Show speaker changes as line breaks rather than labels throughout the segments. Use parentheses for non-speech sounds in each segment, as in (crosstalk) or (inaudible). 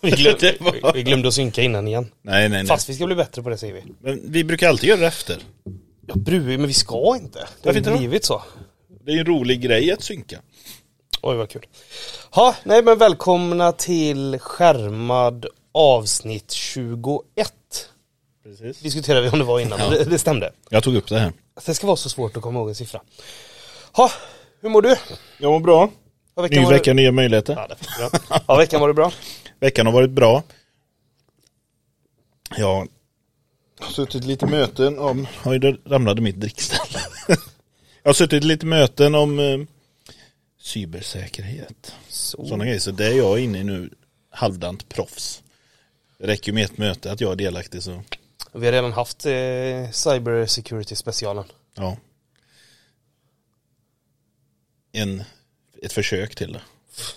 Vi glömde, (laughs) vi glömde att synka innan igen.
Nej, nej, nej.
Fast vi ska bli bättre på det säger vi.
Men vi brukar alltid göra det efter.
Jag bryr men vi ska inte. Det har
Varför
ju
inte då?
blivit så.
Det är ju en rolig grej att synka.
Oj vad kul. Ha, nej men välkomna till skärmad avsnitt 21.
Precis.
Diskuterade vi om det var innan, men det, det stämde.
Jag tog upp det här.
Det ska vara så svårt att komma ihåg en siffra. Ha, hur mår du?
Jag mår bra.
Har
Ny
var
vecka,
det...
nya möjligheter.
Ja, det var bra. ja, veckan var det bra.
Veckan har varit bra. Jag har suttit lite möten om... Oj, där ramlade mitt drickställe. jag har suttit lite möten om eh, cybersäkerhet.
Så.
Sådana grejer. Så det är jag inne i nu, halvdant proffs. Det räcker ju med ett möte att jag är delaktig så...
Vi har redan haft eh, cyber security specialen.
Ja. En, ett försök till det.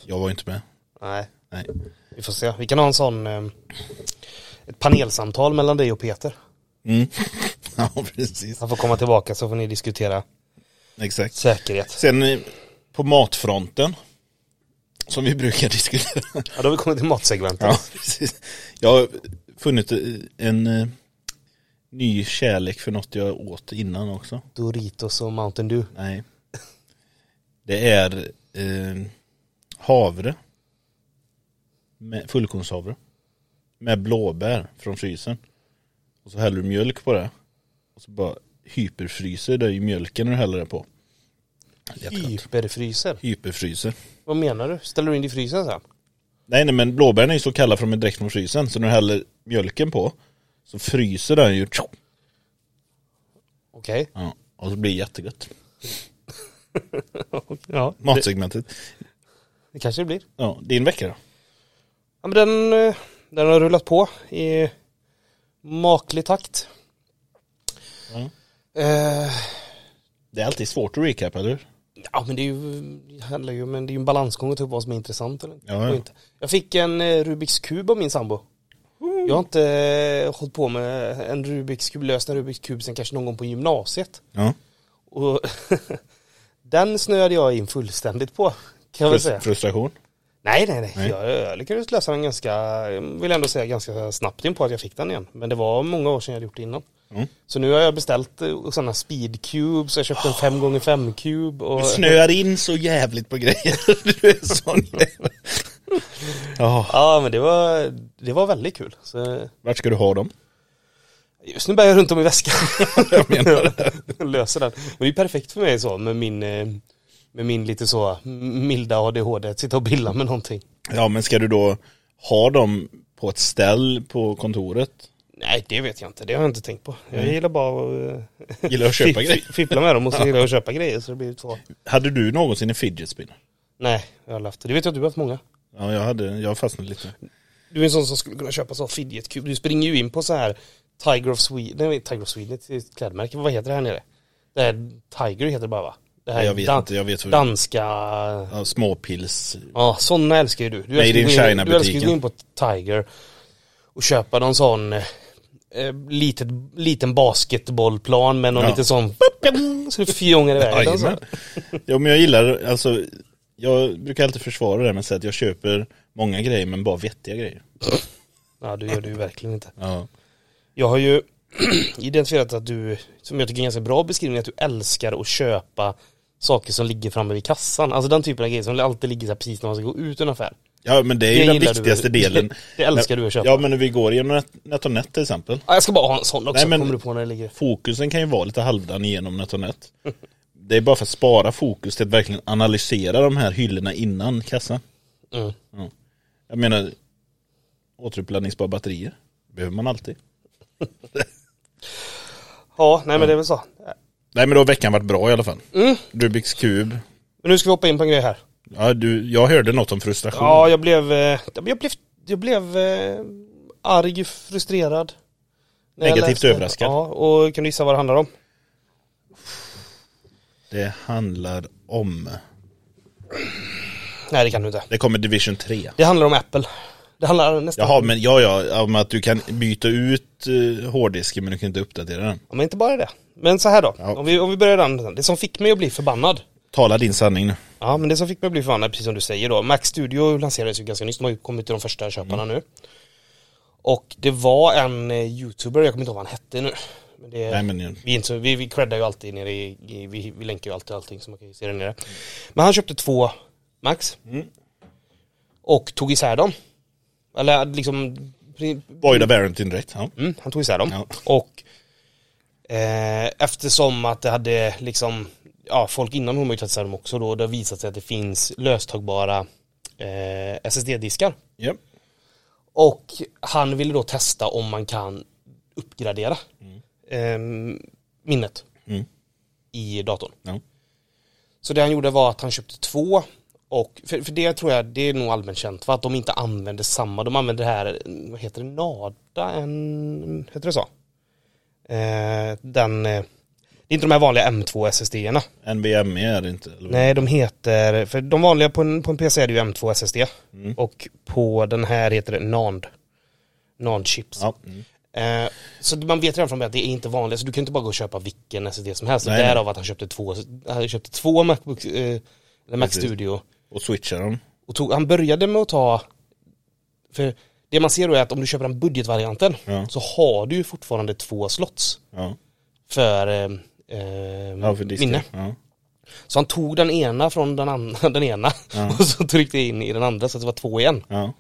Jag var inte med.
Nej,
Nej. (laughs)
vi får se. Vi kan ha en sån eh, ett panelsamtal mellan dig och Peter.
Mm. ja, precis.
Han får komma tillbaka så får ni diskutera
Exakt.
säkerhet.
Sen eh, på matfronten. Som vi brukar (laughs) diskutera.
Ja, då har vi kommit till matsegmentet.
ja, precis. Jag har funnit eh, en eh, ny kärlek för något jag åt innan också.
Doritos och Mountain Dew.
Nej. Det är eh, havre. Med fullkornshavre. Med blåbär från frysen. Och så häller du mjölk på det. Och så bara hyperfryser det i mjölken när du häller det på. Jättegott.
Hyperfryser.
Hyperfryser.
Vad menar du? Ställer du in i frysen sen?
Nej nej men blåbären är ju så kalla från direkt från frysen. Så när du häller mjölken på så fryser den ju.
Okej.
Ja, och så blir det jättegött.
Ja, det,
Matsegmentet.
det kanske det blir.
Ja, din vecka då?
Ja, men den, eh, den har rullat på i maklig takt.
Mm.
Eh,
Det är alltid svårt att recapa, eller hur?
ja men det är ju, det handlar ju, men det är ju en balansgång att ta upp vad som är intressant eller
Ja, ja.
och inte. Jag fick en eh, Rubiks kub av min sambo. Jag har inte eh, hållit på med en Rubiks kub, löst en Rubiks kub sen kanske någon gång på gymnasiet.
Ja.
Och (laughs) den snöade jag in fullständigt på. Kan jag väl säga.
Frust- frustration.
Nej, nej, nej.
Nej.
Jag, jag lyckades lösa den ganska, jag vill ändå säga ganska snabbt in på att jag fick den igen. Men det var många år sedan jag hade gjort det innan.
Mm.
Så nu har jag beställt eh, sådana speed cubes, jag köpte en 5x5 cube och...
Du snöar in så jävligt på grejer. (laughs) Du är sån jävel. Ja,
Ja, men det var, det var väldigt kul. Så
vart ska du ha dem?
just nu bär jag runt om i väskan.
(laughs) Jag menar det.
löser den. Men det är ju perfekt för mig så med min, eh, med min lite så milda ADHD, att sitta och billa med någonting.
Ja, men ska du då ha dem på ett ställ på kontoret?
Nej, det vet jag inte. Det har jag inte tänkt på. Jag gillar bara att eh,
Gillar Mm. att köpa
Fipp-
grejer.
Fippla med dem och så gillar jag att köpa grejer så det blir två.
Hade du någonsin en fidget spinner?
Nej, jag har aldrig haft det. Det vet jag att du har haft många.
Ja, jag hade, jag fastnade lite.
Du är en sån som skulle kunna köpa så fidget cube. Du springer ju in på så här Tiger of Sweden, nej Tiger of Sweden det är ett klädmärke, vad heter det här nere? Det här Tiger heter det bara va? Det här
Jag vet
dan-
inte, jag vet hur...
danska,
Ja, småpils...
ja sådana älskar ju du. Du
Made
älskar ju
in
gå in-
China-butiken.
Du älskar ju gå in på Tiger och köpa någon sån eh, litet, liten basketbollplan med någon
Ja.
liten sån så du fjongar iväg den så.
Jajamän. Ja, men jag gillar, alltså, jag brukar alltid försvara det här med att säga att jag köper många grejer men bara vettiga grejer.
Ja du gör det ju verkligen inte.
Ja.
Jag har ju (clears throat) identifierat att du, som jag tycker är en ganska bra beskrivning, att du älskar att köpa saker som ligger framme vid kassan. Alltså den typen av grejer som alltid ligger så här precis när man ska gå ut ur en affär.
Ja men det är
Det
ju den
gillar du.
viktigaste delen.
(laughs) Det älskar du att köpa.
Ja men när vi går genom Net- Net-on-Net till exempel.
Ja, jag ska bara ha en sån också,
Nej, men-
kommer du på när det ligger.
Fokusen kan ju vara lite halvdan
(laughs)
genom Net-on-Net. Det är bara för att spara fokus till att verkligen analysera de här hyllorna innan kassan.
Mm.
Jag menar återuppladdningsbara batterier. Behöver man alltid.
Ja, nej men det är väl så.
Nej men då har veckan varit bra i alla fall.
Mm.
Rubiks kub.
Men nu ska vi hoppa in på en grej här.
Ja, du, jag hörde något om frustration.
Ja, jag blev, eh, jag blev, jag blev eh, arg, frustrerad. när jag
Negativt
läste.
överraskad.
Ja, och kan du gissa vad det handlar om?
Det handlar om.
Nej, det kan du inte.
Det kommer Division 3.
Det handlar om Apple. Det handlar nästan
Jaha men ja ja, om att du kan byta ut eh, hårddisken men du kan inte uppdatera den.
Ja, men inte bara det. Men så här då,
Ja.
om, vi, om vi börjar den. Det som fick mig att bli förbannad
Tala din sanning nu.
Ja men det som fick mig att bli förvånad, precis som du säger då, Mac Studio lanserades ju ganska nyss, de har ju kommit till de första köparna
Mm.
nu. Och det var en eh, youtuber, jag kommer inte ihåg vad han hette nu. Men det,
Nej men eh,
vi, är inte så, vi, vi creddar ju alltid nere i, i vi, vi länkar ju alltid allting så man kan ju se det nere. Men han köpte två Max. Och tog isär dem. Eller liksom, pri-
Boyda Barrington direkt. Ja.
mm, han tog isär dem.
Ja.
Och eh, eftersom att det hade liksom, ja folk inom Humor testade dem också då, det har visat sig att det finns löstagbara eh, SSD-diskar.
Japp.
Och han ville då testa om man kan uppgradera ehm, minnet
Mm.
i datorn.
Ja.
Så det han gjorde var att han köpte två och, för, för det tror jag, det är nog allmänt känt va, att de inte använder samma, de använder det här, vad heter det, Nada, en, heter det så? Eh, den, eh, det är inte de här vanliga M2 SSD-erna.
Mm. NVMe E är det inte. Eller? vad?
Nej, de heter, för de vanliga på en, på en PC är det ju M2 SSD. Och på den här heter det NAND. NAND-chips.
Ja. Mm.
Eh, så man vet redan från början att det är inte vanligt, så du kan inte bara gå och köpa vilken SSD som helst. Så
Nej, nej.
Därav att han köpte två, han köpte två Macbook, eh, eller Mac
Precis.
Studio.
Och switcha dem.
Och tog, han började med att ta, för det man ser då är att om du köper den budgetvarianten
Ja.
så har du ju fortfarande två slots
Ja.
för, eh, eh,
ja, för disken.
minne.
Ja.
Så han tog den ena från den, an- (laughs) den ena och så tryckte in i den andra så att det var två igen.
ja.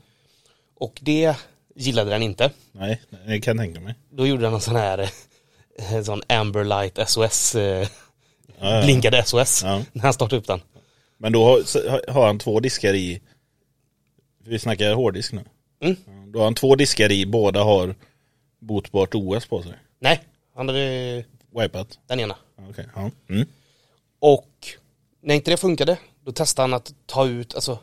Och det gillade den inte.
Nej, nej, jag kan tänka mig.
Då gjorde han en sån här en sån Amberlight SOS, eh,
Ja, ja.
blinkade SOS
Ja.
när han startade upp den.
Men då har, så har- har han två diskar i. Vi snackar hårddisk nu.
Mm.
Ja, Då har han två diskar i, båda har botbart OS på sig.
Nej, han hade
Wipat.
den ena.
Ja, Okej. Ja. Mm.
Och när inte det funkade, då testade han att ta ut, alltså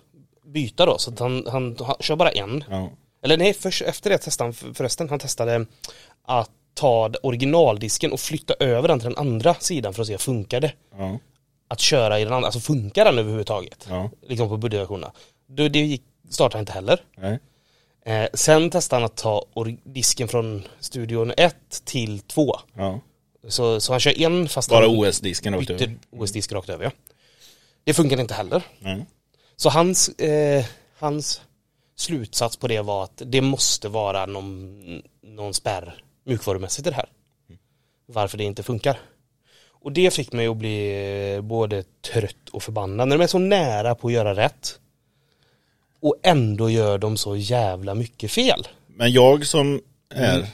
byta då, så att han, han, han kör bara en.
Ja.
Eller nej, först, efter det testade han för- förresten, han testade att ta originaldisken och flytta över den till den andra sidan för att se, funkar det?
Ja.
att köra i den andra, alltså funkar den överhuvudtaget?
Ja.
Liksom på budgetversionerna. Det, det gick, startade inte heller.
Nej.
Eh, sen testade han att ta or- disken från studion 1 till 2.
Ja.
Så, så han kör en fast
Bara
han
OS-disken rakt över.
byter OS-disk rakt över. Ja. Det funkade inte heller.
Nej.
Så hans, eh, hans slutsats på det var att det måste vara någon, någon spärr mjukvarumässigt i det här. Varför det inte funkar. Och det fick mig att bli eh, både trött och förbannad. När de är så nära på att göra rätt och ändå gör de så jävla mycket fel.
Men jag som är,
Mm.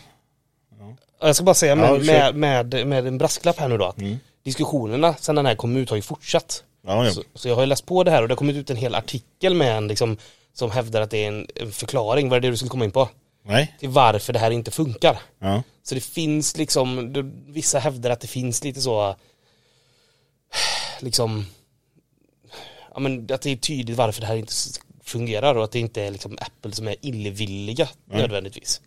Jag ska bara säga med,
Ja, kör. Mm.
med, med, med en brasklapp här nu då att diskussionerna sedan den här kom ut har ju fortsatt.
ja, ja.
Så, så jag har ju läst på det här och det har kommit ut en hel artikel med en liksom, som hävdar att det är en, en förklaring, vad är det du skulle komma in på?
nej,
Till varför det här inte funkar.
ja.
Så det finns liksom, det- vissa hävdar att det finns lite så, liksom, ja men att det är tydligt varför det här inte s- fungerar och att det inte är liksom Apple som är illvilliga nödvändigtvis.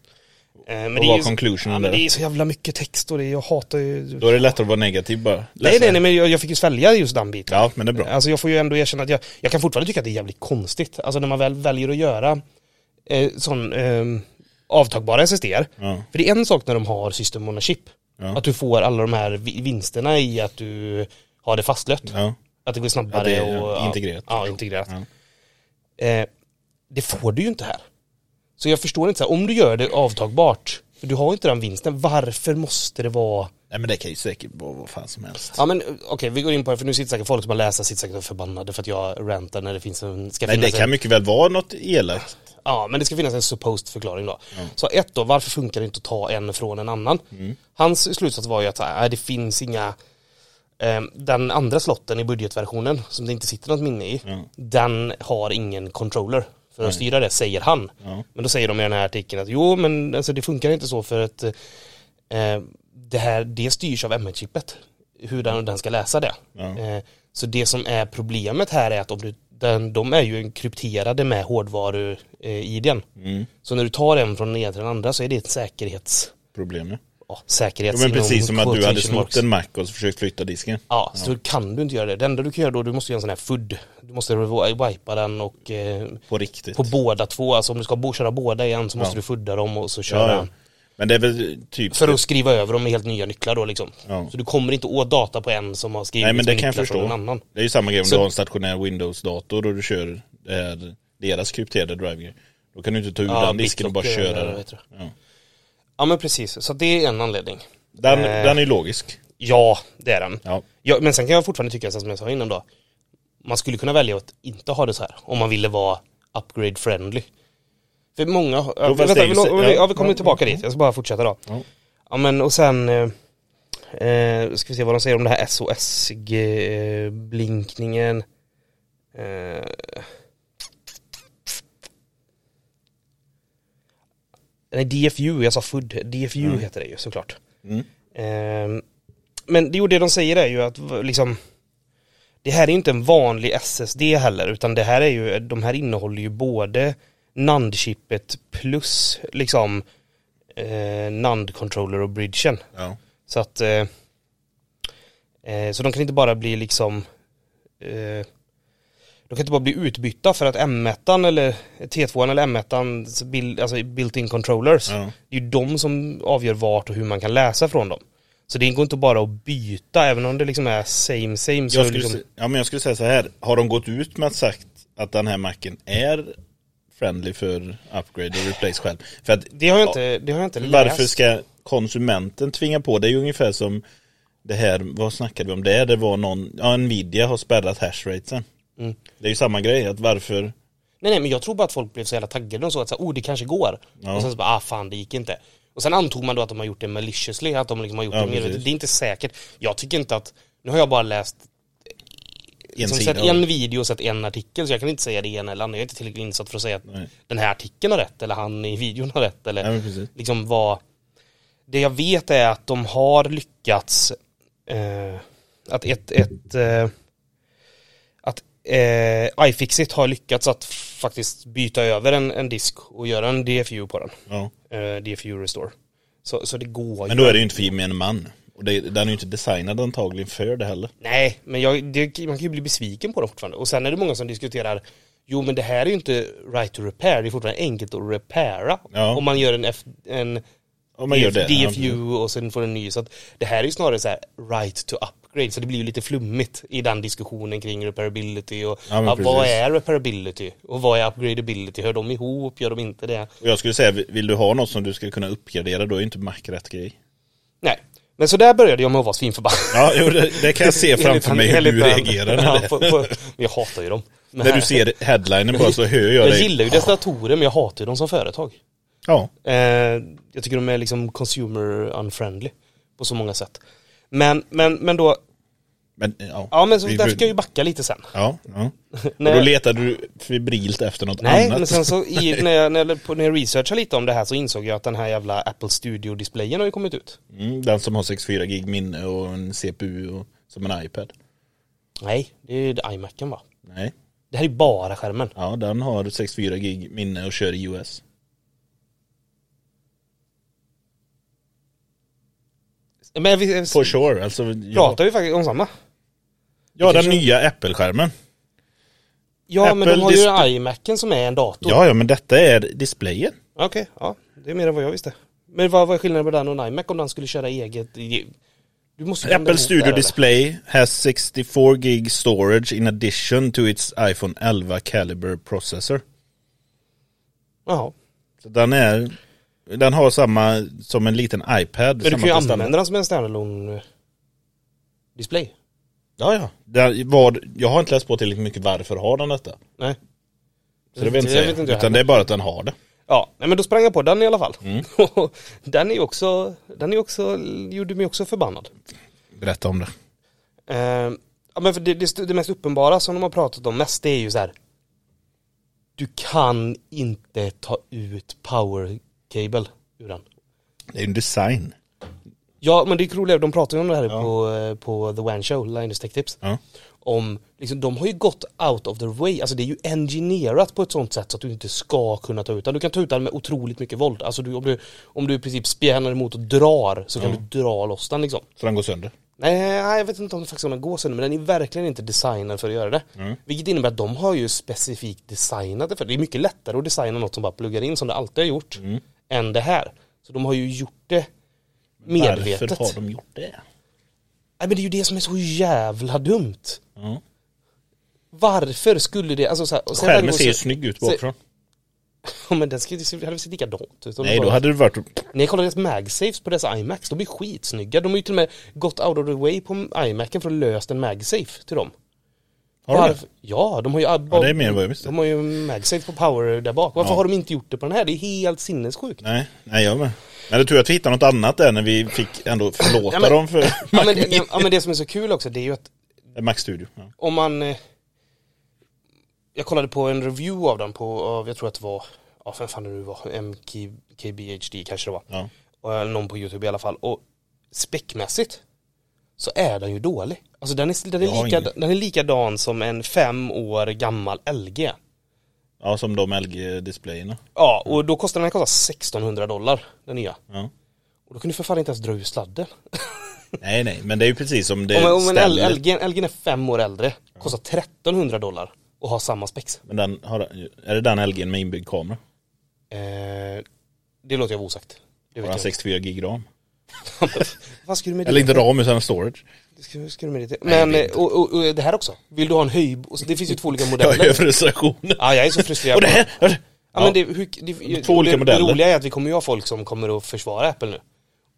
Eh, Men
Och
det, är
vad
ju,
conclusionen
ja, men
där?
det är så jävla mycket text och det, jag hatar ju...
Då är det lättare att vara negativ bara.
Nej
Ledsen.
nej nej men jag, jag fick ju svälja just den biten.
Ja, men det är bra.
Alltså jag får ju ändå erkänna att jag, jag kan fortfarande tycka att det är jävligt konstigt. Alltså när man väl väljer att göra eh, sån eh, avtagbara SSD.
Ja.
För det är en sak när de har system on a chip.
Mm. Ja.
Att du får alla de här vi- vinsterna i att du har det fastlött.
Ja.
Att det går snabbare
Att det är
och... ja,
integrerat.
Ja, integrerat. Eh, det får du ju inte här. Så jag förstår inte, så här, om du gör det avtagbart, för du har ju inte den vinsten, varför måste det vara
Nej men det kan ju säkert vara vad fan som helst.
Ja men eh, okej, vi går in på det för nu sitter säkert folk som har läst det sitter säkert och förbannade för att jag rantar när det finns en... Ska
Nej det
finnas
kan
en,
mycket väl vara något elakt.
Ja men det ska finnas en supposed förklaring då. Så ett då, varför funkar det inte att ta en från en annan? Hans slutsats var ju att så här, nej, det finns inga... Eh, den andra slotten i budgetversionen som det inte sitter något minne i,
Ja.
den har ingen controller för att styra det, säger han. Men då säger de i den här artikeln att jo men alltså, det funkar inte så för att eh, det här, det styrs av M1-chippet. Hur den, den ska läsa det.
Mm. Ja.
Eh, så det som är problemet här är att om du, den, de är ju krypterade med eh, hårdvaru-idén.
Mm.
Så när du tar en från den ena till den andra så är det ett säkerhets...
Problemet.
Ja,
Ja,
säkerhets...
men precis
inom
som att du hade
quotation
snott
marks.
en mack och så försökt flytta disken.
Ja, så kan du inte göra det. Det enda du kan göra då, du måste göra en sån här FUD. Du måste revo- wipa den och eh,
På riktigt.
på båda två, alltså om du ska bo- köra båda igen så måste
Ja.
du fudda dem och så köra.
ja, ja. Men det är väl typ...
För att skriva över dem med helt nya nycklar då liksom.
Ja.
Så du kommer inte åt data på en som har skrivit
Nej men det
med
kan jag
nycklar från en
förstå.
annan.
Det är ju samma grej om
Så-
du har en stationär Windows-dator och du kör det här, deras krypterade drive Då kan du inte ta ur
Ja,
den disken och bara
BitLocker eller
köra
vad
den.
heter
Ja.
Ja men precis, så det är en anledning.
Den,
Eh.
den är ju logisk.
Ja, det är den.
Ja.
Ja, men sen kan jag fortfarande tycka, som jag sa innan då, man skulle kunna välja att inte ha det så här om man ville vara upgrade friendly. För många, har- ja,
fast
vänta,
det är
vi,
ju
lo-
så-
vi,
ja.
ja, vi kommer
Ja,
tillbaka
ja,
dit, jag ska bara fortsätta då.
Ja.
Ja men och sen, eh, eh, ska vi se vad de säger om det här SOS-blinkningen. Eh, nej DFU, jag sa FUD, DFU
Mm.
heter det ju såklart.
Mm.
Ehm, Men det, jo, det de säger är ju att v- liksom det här är inte en vanlig SSD heller utan det här är ju, de här innehåller ju både NAND-chippet plus liksom eh, NAND-controller och bridgen.
Ja.
Så att eh, eh, så de kan inte bara bli liksom eh, de kan inte bara bli utbytta för att M1 eller T2 eller M1 bil, alltså built-in controllers
Ja.
det är ju de som avgör vart och hur man kan läsa från dem. Så det går inte bara att byta, även om det liksom är same same. Så
Jag, skulle,
liksom,
se- ja, men jag skulle säga så här, har de gått ut med att sagt att den här macken är friendly för upgrade och replace själv? För att
det har jag inte, det har jag inte
Varför
läst.
ska konsumenten tvinga på? Det är ju ungefär som det här, vad snackade vi om det? Det var någon, ja Nvidia har spärrat hashraten.
Mm.
Det är ju samma grej, att varför,
Nej, nej, men jag tror bara att folk blev så jävla taggade och så att så här, oh, det kanske går.
Ja.
Och sen så bara, ah fan det gick inte. Och sen antog man då att de har gjort det maliciously, att de liksom har gjort
Ja,
det medvetet.
precis.
Det är inte säkert. Jag tycker inte att, nu har jag bara läst,
en
som
sida.
sett en video och sett en artikel, så jag kan inte säga det ena eller andra. Jag är inte tillräckligt insatt för att säga att
Nej.
den här artikeln har rätt, eller han i videon har rätt, eller
Ja, men precis.
liksom vad Det jag vet är att de har lyckats eh, Att ett, ett eh, Att eh, iFixit har lyckats att faktiskt byta över en, en disk och göra en DFU på den
Ja.
eh, DFU Restore så, så det går
Men
ju
då är det ju inte för gemene man. Och det, den är ju inte designad antagligen för det heller.
Nej, men jag, det, man kan ju bli besviken på det fortfarande och sen är det många som diskuterar Jo men det här är ju inte right to repair, det är fortfarande enkelt att repara
Ja.
om man gör en, F, en
Om man gör det.
DFU och sen får en ny. Så att det här är ju snarare så här right to upgrade. Så det blir ju lite flummigt i den diskussionen kring repairability och
Ja, men
ja, vad
precis.
är repairability och vad är upgradability? Hör de ihop? Gör de inte det?
Och jag skulle säga, vill du ha något som du ska kunna uppgradera, då är ju inte Mac rätt grej.
Nej, men så där började jag med att vara svinförbannad.
Ja, jo, det, det kan jag
(laughs)
se
Enligt
framför
han-
mig hur
enligt
du
han-
reagerar när
Ja,
det.
på- på- Jag hatar ju dem. Men
När du
här-
ser headlinen bara så hör jag
jag
dig.
gillar ju deras datorer men jag hatar ju dem som företag.
Ja,
Eh, jag tycker de är liksom consumer unfriendly på så många sätt. Men, men, men då,
men ja.
ja men så,
Vi-
där fick jag ju backa lite sen.
Ja, ja. Och
När-
då letade du febrilt efter något
Nej,
annat.
men sen så i, när, jag, när, jag, på- när jag researchade lite om det här så insåg jag att den här jävla Apple Studio-displayen har ju kommit ut.
Mm, den som har 64 gig minne och en CPU och, som en iPad.
Nej, det är ju iMacen va?
Nej,
Det här är ju bara skärmen.
ja den har 64 gig minne och kör i US.
Men vi vi
For sure, alltså. Ja,
pratar ju faktiskt om samma.
ja den
kanske-
nya Apple-skärmen.
Ja, men de
Apple
har ju
display-
iMacen som är en dator.
Ja, ja, men detta är displayen.
Okej, ja. Det är mer än vad jag visste. Men vad var skillnaden på den och en iMac om den skulle köra eget? i- Du måste ju blanda
Apple
ihop det
Studio
här, eller?
Display has 64 gig storage in addition to its iPhone 11 caliber processor.
Jaha.
Så den är, den har samma som en liten iPad.
Men du
samma
kan ju
prestanda.
använda den som en standalone eh, display.
Ja, ja. Där, vad, jag har inte läst på tillräckligt mycket varför har den detta.
Nej.
Så det vill jag inte
Jag
säga.
vet inte jag
Utan det Mm. är bara att den har det.
Ja, nej, men då sprang jag på den i alla fall. Och (laughs) den är ju också, den är också, gjorde mig också förbannad.
Berätta om det.
Eh, ja, men för det, det, st- det mest uppenbara som de har pratat om mest, det är ju så här. Du kan inte ta ut power cable ur den.
Det är ju en design.
Ja, men det är roligt, de pratar ju om det här på, eh, på The One Show, Linus Tech Tips.
Ja.
Om, liksom, de har ju gått out of the way, alltså det är ju engineerat på ett sånt sätt så att du inte ska kunna ta ut den. Du kan ta ut den med otroligt mycket våld. Alltså du, om, du, om du i princip spjärnar emot och drar så kan du dra loss den liksom.
Så den går sönder.
Nej, nej, jag vet inte om det faktiskt kommer gå sönder, men den är verkligen inte designad för att göra det. Vilket innebär att de har ju
Mm.
specifikt designat det för det. Det är mycket lättare att designa något som bara pluggar in som det alltid har gjort, än det här. Så de har ju gjort det medvetet.
Varför har de gjort det?
Nej men det är ju det som är så jävla dumt.
Ja.
Varför skulle det, alltså så här, och sen
Skärmen
ändå
ser ju
så-
snygg ut
så-
bakifrån.
Ja men den ska, det hade sett likadant ut. om
Nej,
det
då
bara-
hade det varit...
Ni har kollat deras magsafes på dessa iMacs, de är skitsnygga. De har ju till och med gått out of the way på iMacen för att lösa en magsafe till dem.
Har de det?
Varför- Ja, de har ju...
Ja, det är mer än vad jag visste.
De har ju en magsafe på power där bak. Varför
Ja.
har de inte gjort det på den här? Det är helt sinnessjukt.
Nej, nej jag med. Men det är tur att vi hittade något annat där när vi fick ändå förlåta
Ja, men-
dem för (laughs)
Ja men, det- ja men det som är så kul också det är ju att
Mac Studio. Ja.
om man... eh, Jag kollade på en review av den på, av, jag tror att det var, ja vem fan det nu var, MKBHD kanske det var.
Ja.
Och, eh, någon på YouTube i alla fall. Och späckmässigt så är den ju dålig. Alltså den är, den
Jag har
är, lika,
ingen.
den är likadan som en fem år gammal LG.
ja, som de LG-displayerna.
Ja, och då kostar den här kostar 1600 dollar, den nya.
Ja.
Och då kan du för fan inte ens dra ur sladden.
Nej, nej, men det är ju precis som det
Om, om en L-
ställer.
LG, LG är fem år äldre, kostar 1300 dollar och har samma spex.
Men den har, är det den LG'n med inbyggd kamera?
Eh, det låter jag vara osagt. Det
Har den
vet jag.
64 gig ram?
inte. Vad ska du med det?
Eller inte ram utan (laughs) storage.
Ska, du- ska du med det? till? Men eh, och, och, och det här också. Vill du ha en höjb? och så- Det finns ju två olika
Jag är
modeller.
frustrationen.
Ja, jag är så frustrerad.
Och det här! Ja,
Ja, men det, hur, det,
Två olika
det,
modeller.
Det roliga är att vi kommer ju ha folk som kommer att försvara Apple nu.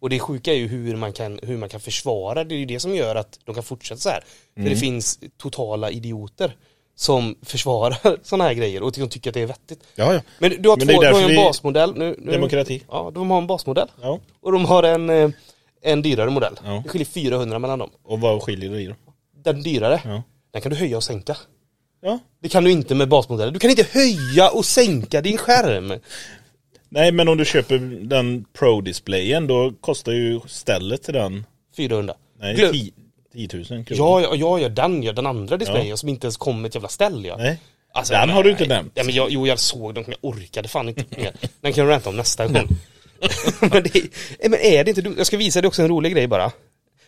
Och det sjuka är ju hur man kan, hur man kan försvara, det är ju det som gör att de kan fortsätta så här. För
Mm.
det finns totala idioter som försvarar (laughs) sådana här grejer och de tycker att det är vettigt.
ja, ja.
Men du har,
Men det är
två, du har
därför
ju en
vi-
basmodell nu, nu.
Demokrati.
Ja, de har en basmodell.
ja.
Och de har en, eh, en dyrare modell.
Ja.
Det skiljer 400 mellan dem.
Och vad skiljer det i då?
Den dyrare,
Ja.
den kan du höja och sänka.
ja.
Det kan du inte med basmodellen. Du kan inte höja och sänka din skärm.
Nej, men om du köper den Pro-displayen då kostar ju stället till den
400.
nej,
Glöm-
10, 10 000 kronor.
Ja, ja, ja, ja, den ja, den andra displayen som inte ens kom med ett jävla ställ ja.
Nej.
Alltså,
Den har du inte nämnt.
Ja, men jag, jo, jag såg den, men jag orkade fan inte mer. Den kan jag ranta om nästa
(laughs)
gång. men, det, nej, men är det inte dumt? Jag ska visa dig också en rolig grej bara.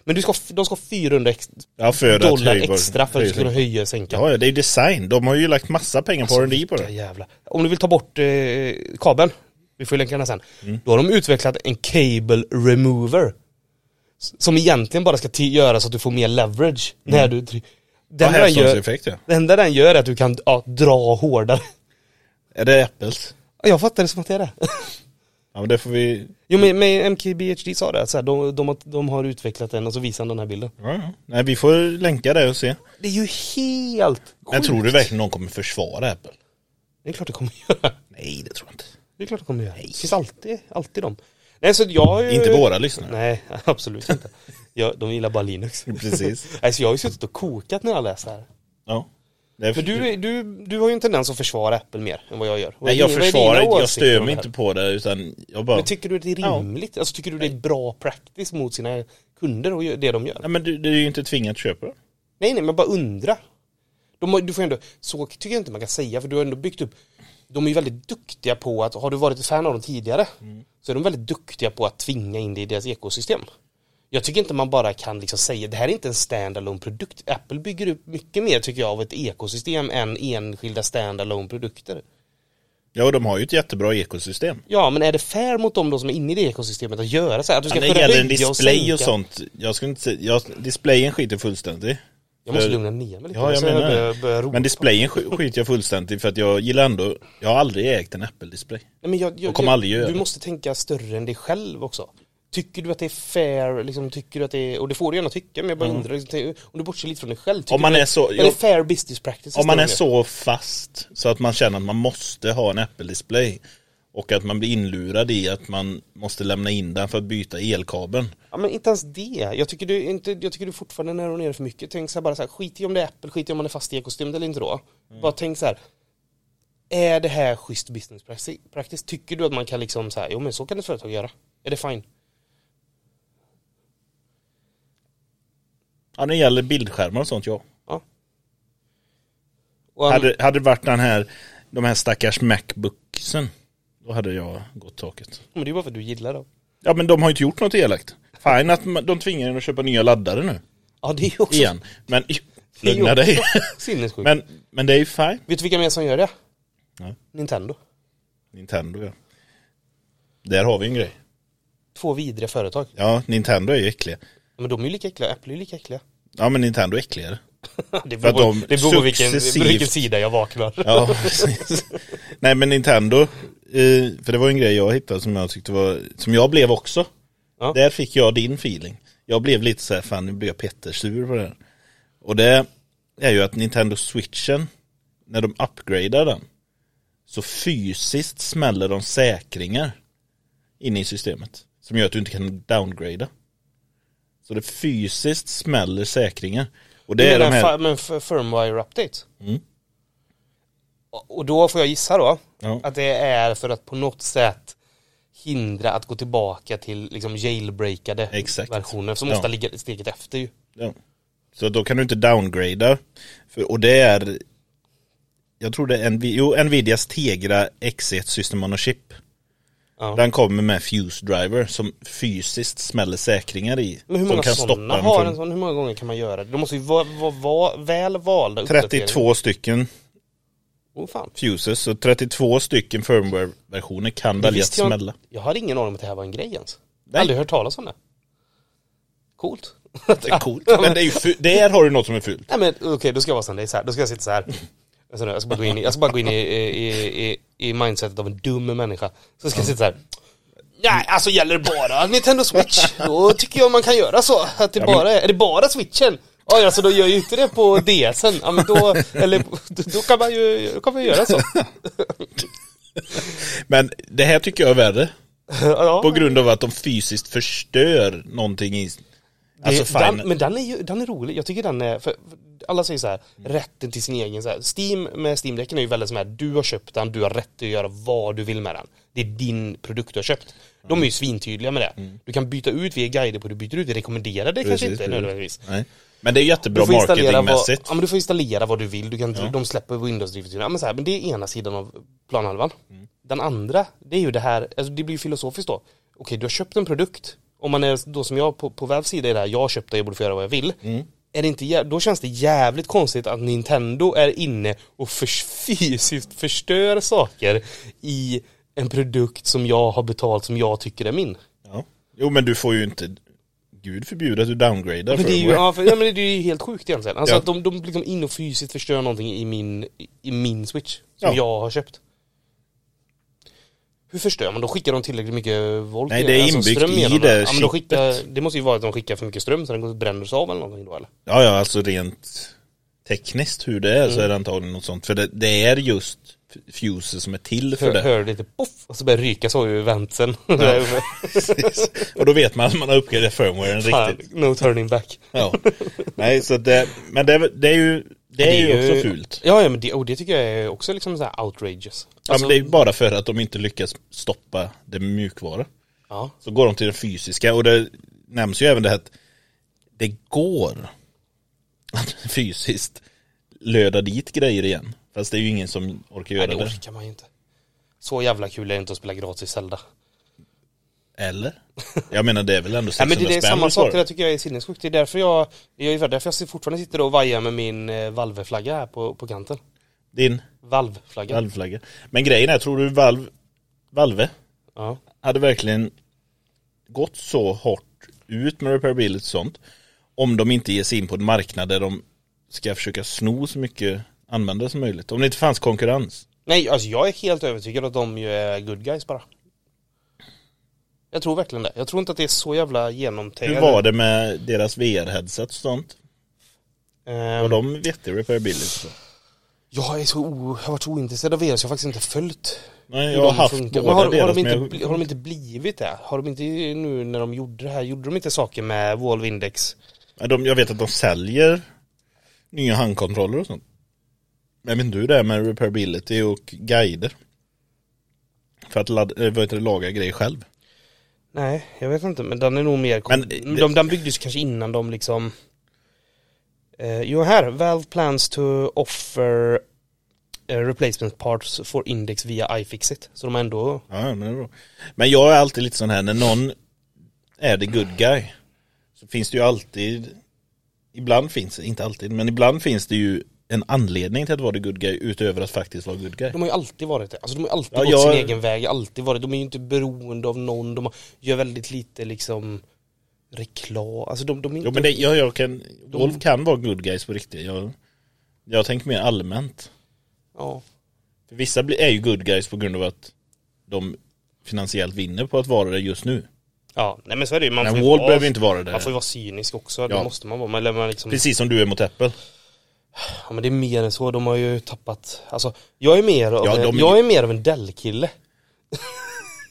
Men du ska, de ska ha 400 ex,
Ja, för att
dollar
höjbar-
extra för att du ska kunna
höjbar-
höja och sänka.
Ja, ja, det är ju design. De har ju lagt massa pengar på R&D på
Ja,
det.
jävlar. Om du vill ta bort eh, kabeln, vi får länka den här sen.
Mm.
Då har de utvecklat en cable remover. S- Som egentligen bara ska ti- göra så att du får mer leverage när du... try- Den,
Mm. Ja,
den, gör,
Hävstångseffekt ja.
Det enda den gör är att du kan ja, dra hårdare.
Är det Apples?
Jag fattar det som att det (laughs) är det.
Ja, men det får vi...
Jo men, men MKBHD sa det, att så här, de, de, har- de har utvecklat den och så visar han den här bilden.
Ja, ja. Nej, vi får länka det och se.
Det är ju helt sjukt.
Men tror du verkligen någon kommer försvara Apple?
Det är klart det kommer göra.
Nej, det tror jag inte.
Det är klart det kommer göra. Det finns alltid, alltid de. Nej så jag har ju...
Inte våra lyssnare.
(laughs) Nej, absolut inte. Jag, de gillar bara Linux.
(laughs) Precis.
Nej, så jag har ju suttit och kokat när jag läst det här.
Ja. Det är
För du, är- du, du har ju en tendens att försvara Apple mer än vad jag gör. Vad
Mm.
är
Nej, jag
din- vad är
försvarar
dina
inte. Jag
åsikter
stör
om
mig
det här?
inte på det, utan jag bara...
Men tycker du att det är rimligt? Alltså tycker du det är bra practice mot sina kunder och gö- det de gör?
Nej, men du, du är ju inte tvingad att köpa det.
Nej, nej, men bara undra. De, har- du får ändå, så tycker jag inte man kan säga, för du har ändå byggt upp... De är ju väldigt duktiga på att, har du varit ett fan av dem tidigare,
Mm.
så är de väldigt duktiga på att tvinga in det i deras ekosystem. Jag tycker inte man bara kan liksom säga, det här är inte en standalone produkt. Apple bygger upp mycket mer tycker jag av ett ekosystem än enskilda standalone produkter.
Ja, och de har ju ett jättebra ekosystem.
Ja, men är det fair mot dem då som är inne i det ekosystemet att göra så här? Att du ska
Ja, när
kunna
det gäller en
höja
display och,
sänka?
sånt, jag skulle inte säga, jag, displayen skiter fullständigt i.
Jag måste
För-
lugna ner mig lite.
Ja, jag
Så
menar
börjar- börjar
det.
ropa.
Men displayen sk- skiter jag fullständigt i för att jag gillar ändå, jag har aldrig ägt en Apple-display.
Nej, men jag, jag,
Och kommer
jag,
aldrig göra
Du
det.
måste tänka större än dig själv också. Tycker du att det är fair, liksom, tycker du att det är, och det får du gärna tycka, men jag bara undrar, liksom, tänk- om du bortser lite från dig själv, tycker
Mm. Om man
du,
är så,
är det
jag,
fair business practice?
om man är
Stanley?
så fast så att man känner att man måste ha en Apple-display och att man blir inlurad i att man måste lämna in den för att byta elkabeln.
Ja men inte ens det. Jag tycker du, inte, jag tycker du fortfarande när och ner för mycket. Tänk så här bara så här, skit i om det är Apple, skit i om man är fast i ekosystemet eller inte då.
Mm.
Bara tänk så här, är det här schysst business practice? practice? Tycker du att man kan liksom så här, jo men så kan ett företag göra. Är det fine?
Ja, när det gäller bildskärmar och sånt, ja.
Ja. Och,
Hade, hade det varit den här, de här stackars Macbooksen, då hade jag gått taket.
men det är bara för att du gillar dem.
Ja, men de har ju inte gjort något elakt. Fine att man- de tvingar en att köpa nya laddare nu,
Ja det är också
igen. Men
Det är ju
lugna
också
dig.
(laughs) Sinnessjukt.
Men, men det är ju fine.
Vet du vilka mer som gör det?
Nej.
Nintendo.
Nintendo ja. Där har vi en grej.
Två vidriga företag.
Ja, Nintendo är ju äckliga.
Men de är ju lika äckliga, Apple är ju lika äckliga. (laughs)
Ja, men Nintendo är äckligare.
Det
För
beror,
att de
det beror på vilken, det beror
successivt-
på vilken sida jag vaknar.
Ja, precis. Nej, men Nintendo, eh, för det var ju en grej jag hittade som jag tyckte var, som jag blev också.
Ja.
Där fick jag din feeling. Jag blev lite så här, fan nu blir jag Petter-sur på det här. Och det är ju att Nintendo switchen, när de upgradar den, så fysiskt smäller de säkringar inne i systemet. Som gör att du inte kan downgrada. Så det fysiskt smäller säkringar. Och (laughs) det är
men,
de här... Mm.
men f- firmware update. Och och då får jag gissa då
Ja.
att det är för att på något sätt hindra att gå tillbaka till liksom jailbreakade
Exakt.
versioner som
Ja.
ofta ligger steget efter ju.
Ja. Så då kan du inte downgrada. För, och det är, jag tror det är Nvi- jo, Nvidias Tegra X1 System on a Chip.
Ja.
Den kommer med Fuse Driver som fysiskt smäller säkringar i.
Men hur många
som kan
sådana
stoppa den
har
från
en sån? Hur många gånger kan man göra det? De måste ju vara vara- vara väl valda uppdateringar.
32 stycken
Åh fan.
fuses och 32 stycken firmware-versioner kan välja att
Visste jag-
smälla.
Jag har ingen aning om att det här var en grej ens.
Nej.
Aldrig hört talas om det. Coolt.
Det är coolt. Men det är ju fu- där har du något som är fult.
Nej men okej, då ska jag vara som dig så här. Då ska jag sitta så här. Alltså, nu, jag ska bara gå in i, jag ska bara gå in i, i, i, i mindsetet av en dum människa. Så ska jag sitta så här. Nej, alltså gäller det bara Nintendo Switch? Då tycker jag man kan göra så. Att det
men-
bara är, är det bara switchen? Ja, alltså då gör jag ju inte det på DSen. Ja, men då, eller då- då kan man ju, då kan man ju göra
(laughs)
så.
Men det här tycker jag är värre.
Ja,
På grund av att de fysiskt förstör någonting i... Alltså
det,
fine.
den, men den är ju, den är rolig. Jag tycker den är, för, för alla säger så här,
Mm.
rätten till sin egen så här. Steam med Steam-däcken är ju väldigt som här, du har köpt den, du har rätt att göra vad du vill med den. Det är din produkt du har köpt. De är
Mm.
ju svintydliga med det. Du kan byta ut via guider på hur du byter ut, vi rekommenderar det kanske
Precis,
inte
precis.
nödvändigtvis.
Nej. Men det är jättebra
Du får, installera vad,
marketingmässigt.
ja, men du får installera vad du vill, du kan, de släpper Windows-drivet. Ja, men, så här, men det är ena sidan av planhalvan. Den andra, det är ju det här, alltså det blir ju filosofiskt då. Okej, du har köpt en produkt. Om man är då som jag på, på Valves sida är det här, jag har köpt det, jag borde få göra vad jag vill. Är det inte, jä- då känns det jävligt konstigt att Nintendo är inne och förs (laughs) fysiskt förstör saker i en produkt som jag har betalt som jag tycker är min.
Ja. Jo men du får ju inte, gud förbjude att du downgradar
Men det, är ju,
firmware.
ja, för, ja, men det är ju helt sjukt egentligen. Alltså
Alltså, Ja.
att de, de liksom in och fysiskt förstör någonting i min, i min switch. Som
Ja.
jag har köpt. Hur förstör man? Då skickar de tillräckligt mycket volt?
Nej, det är inbyggt i
Alltså, genom
det
den. ja, men då
chippet.
skickar, Det måste ju vara att de skickar för mycket ström så den går bränner av eller någonting då eller?
Ja ja alltså rent tekniskt hur det är
Mm.
så är det antagligen något sånt. För det, det är just f- fuses som är till för
Hör,
det.
hör lite poff och så börjar det ryka så ur vänsen. (laughs)
Precis. Och då vet man att man har uppgraderat firmwaren
Fan,
riktigt.
no turning back.
Ja. Nej så att det, men det, är- det är ju, det är, ju också fult.
Ja, ja men det, och det tycker jag är också liksom så här outrageous. Alltså,
ja, men det är ju bara för att de inte lyckas stoppa det mjukvara.
ja.
Så går de till den fysiska och det nämns ju även det här att det går att (laughs) fysiskt löda dit grejer igen. Fast det är ju ingen som orkar göra
Nej, det
det.
orkar man ju inte. Så jävla kul är det inte att spela gratis Zelda.
Eller? (laughs) Jag menar Liksom, det är väl ändå
(laughs)
600
Ja, men det, det är
spänn
samma
att svara.
sak, det där tycker jag är sinnessjukt. Det är därför jag, jag är ju därför jag fortfarande sitter och vajar med min eh, valveflagga här på, på kanten.
Din
Valveflagga.
valvflagga. Men grejen är, tror du valv, Valve
Ja.
hade verkligen gått så hårt ut med repairability och sånt om de inte ger sig in på en marknad där de ska försöka sno så mycket användare som möjligt. Om det inte fanns konkurrens.
Nej, alltså jag är helt övertygad att de ju är good guys bara. Jag tror verkligen det. Jag tror inte att det är så jävla genomtänkt.
Hur var det med deras VR-headset och sånt? Var
Ehm,
de vettig repairability? så?
jag är så o, jag har varit så ointresserad av er så jag har faktiskt inte följt
Nej,
hur
jag har
de
haft
funkar.
båda
Men har, har,
deras,
de inte,
men jag-
bli- har de inte blivit det? Har de inte nu när de gjorde det här, gjorde de inte saker med Valve Index?
Ja, de, jag vet att de säljer nya handkontroller och sånt. Men jag vet inte hur det är med repairability och guider. För att ladda, eh, vad heter det, laga grejer själv.
Nej, jag vet inte. Men den är nog mer...
Men,
Men,
eh,
de, den byggdes kanske innan de liksom... Eh, jo, här. Valve plans to offer eh, replacement parts for index via iFixit. Så de har ändå...
Ja, men, det är bra. men jag är alltid lite sån här, när någon är the good guy så finns det ju alltid, ibland finns det, inte alltid, men ibland finns det ju en anledning till att vara the good guy utöver att faktiskt vara good guy.
De har ju alltid varit det. Alltså de har alltid
Ja,
gått
jag-
sin egen väg, alltid varit. De är ju inte beroende av någon, de har- gör väldigt lite liksom reklam. Alltså de, de är inte...
Jo men det, jag, jag kan, Wolf kan vara good guys på riktigt. Jag, jag tänker mer allmänt.
ja.
För vissa blir, är ju good guys på grund av att de finansiellt vinner på att vara det just nu.
Alltså, ja, Alltså- nej men så är det ju. Man
Men
får ju
Wall
vara-
behöver inte vara det.
Man får ju vara cynisk också,
Ja.
det måste man vara. Men, eller man liksom,
Precis som du är mot Apple.
ja, men det är mer än så, de har ju tappat, alltså jag är mer av,
Ja,
en-
de är-
jag är mer av en Dell-kille. (laughs)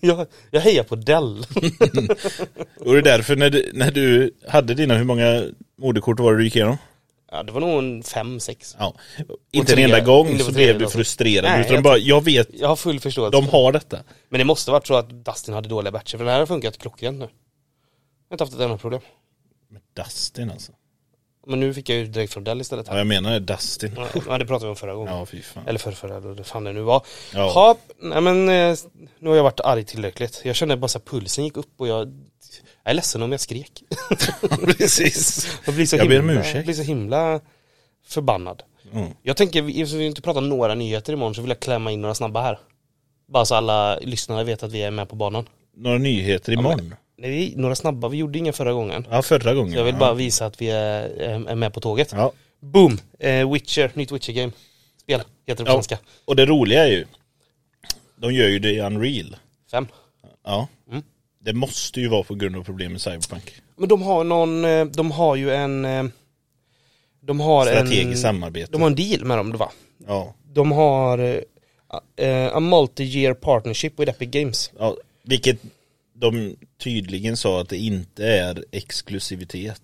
jag, jag hejar på Dell.
Och det är därför när du, när du hade dina, hur många moderkort var det du gick igenom?
ja, det var nog en fem sex
Ja. Inte en
tre-
enda gång
inte
så
på
blev
tredje
du
alltså.
frustrerad.
Nej,
utan
jag-
bara, jag vet,
Jag har full förståelse.
de har detta.
Men det måste varit så att Dustin hade dåliga batcher, för den här har funkat klockrent nu. Jag har inte haft ett enda problem.
Dustin alltså.
Men nu fick jag ju direkt från Dell istället.
Ja, jag menar Dustin.
Ja, det pratade vi om förra gången.
Ja, fy fan.
Eller förra, förra eller vad fan det nu var.
Ja.
Ja, nej men eh, nu har jag varit arg tillräckligt. Jag kände bara att pulsen gick upp och jag... Jag är ledsen om jag skrek.
(laughs) Precis.
Jag blir så
Jag
himla,
ber om ursäkt.
Jag blir så himla förbannad.
Mm.
Jag tänker, vi- eftersom vi inte pratar om några nyheter imorgon så vill jag klämma in några snabba här. Bara så alla lyssnare vet att vi är med på banan.
Några nyheter imorgon?
Nej, vi- några snabba, vi gjorde inga förra gången.
Ja, förra gången.
Så jag vill
ja.
bara visa att vi är, är med på tåget.
Ja.
Boom! Eh, Witcher, nytt Witcher-game. Spel, heter det på
Ja.
svenska.
Och det roliga är ju, de gör ju det i Unreal.
Fem.
Ja.
Mm.
Det måste ju vara på grund av problem med Cyberpunk.
Men de har någon, eh, de har ju en... eh, De har
Strategiskt
en...
samarbete.
De har en deal med dem, va?
Ja.
De har eh, eh, a multi-year partnership with Epic Games.
ja. Vilket de tydligen sa att det inte är exklusivitet.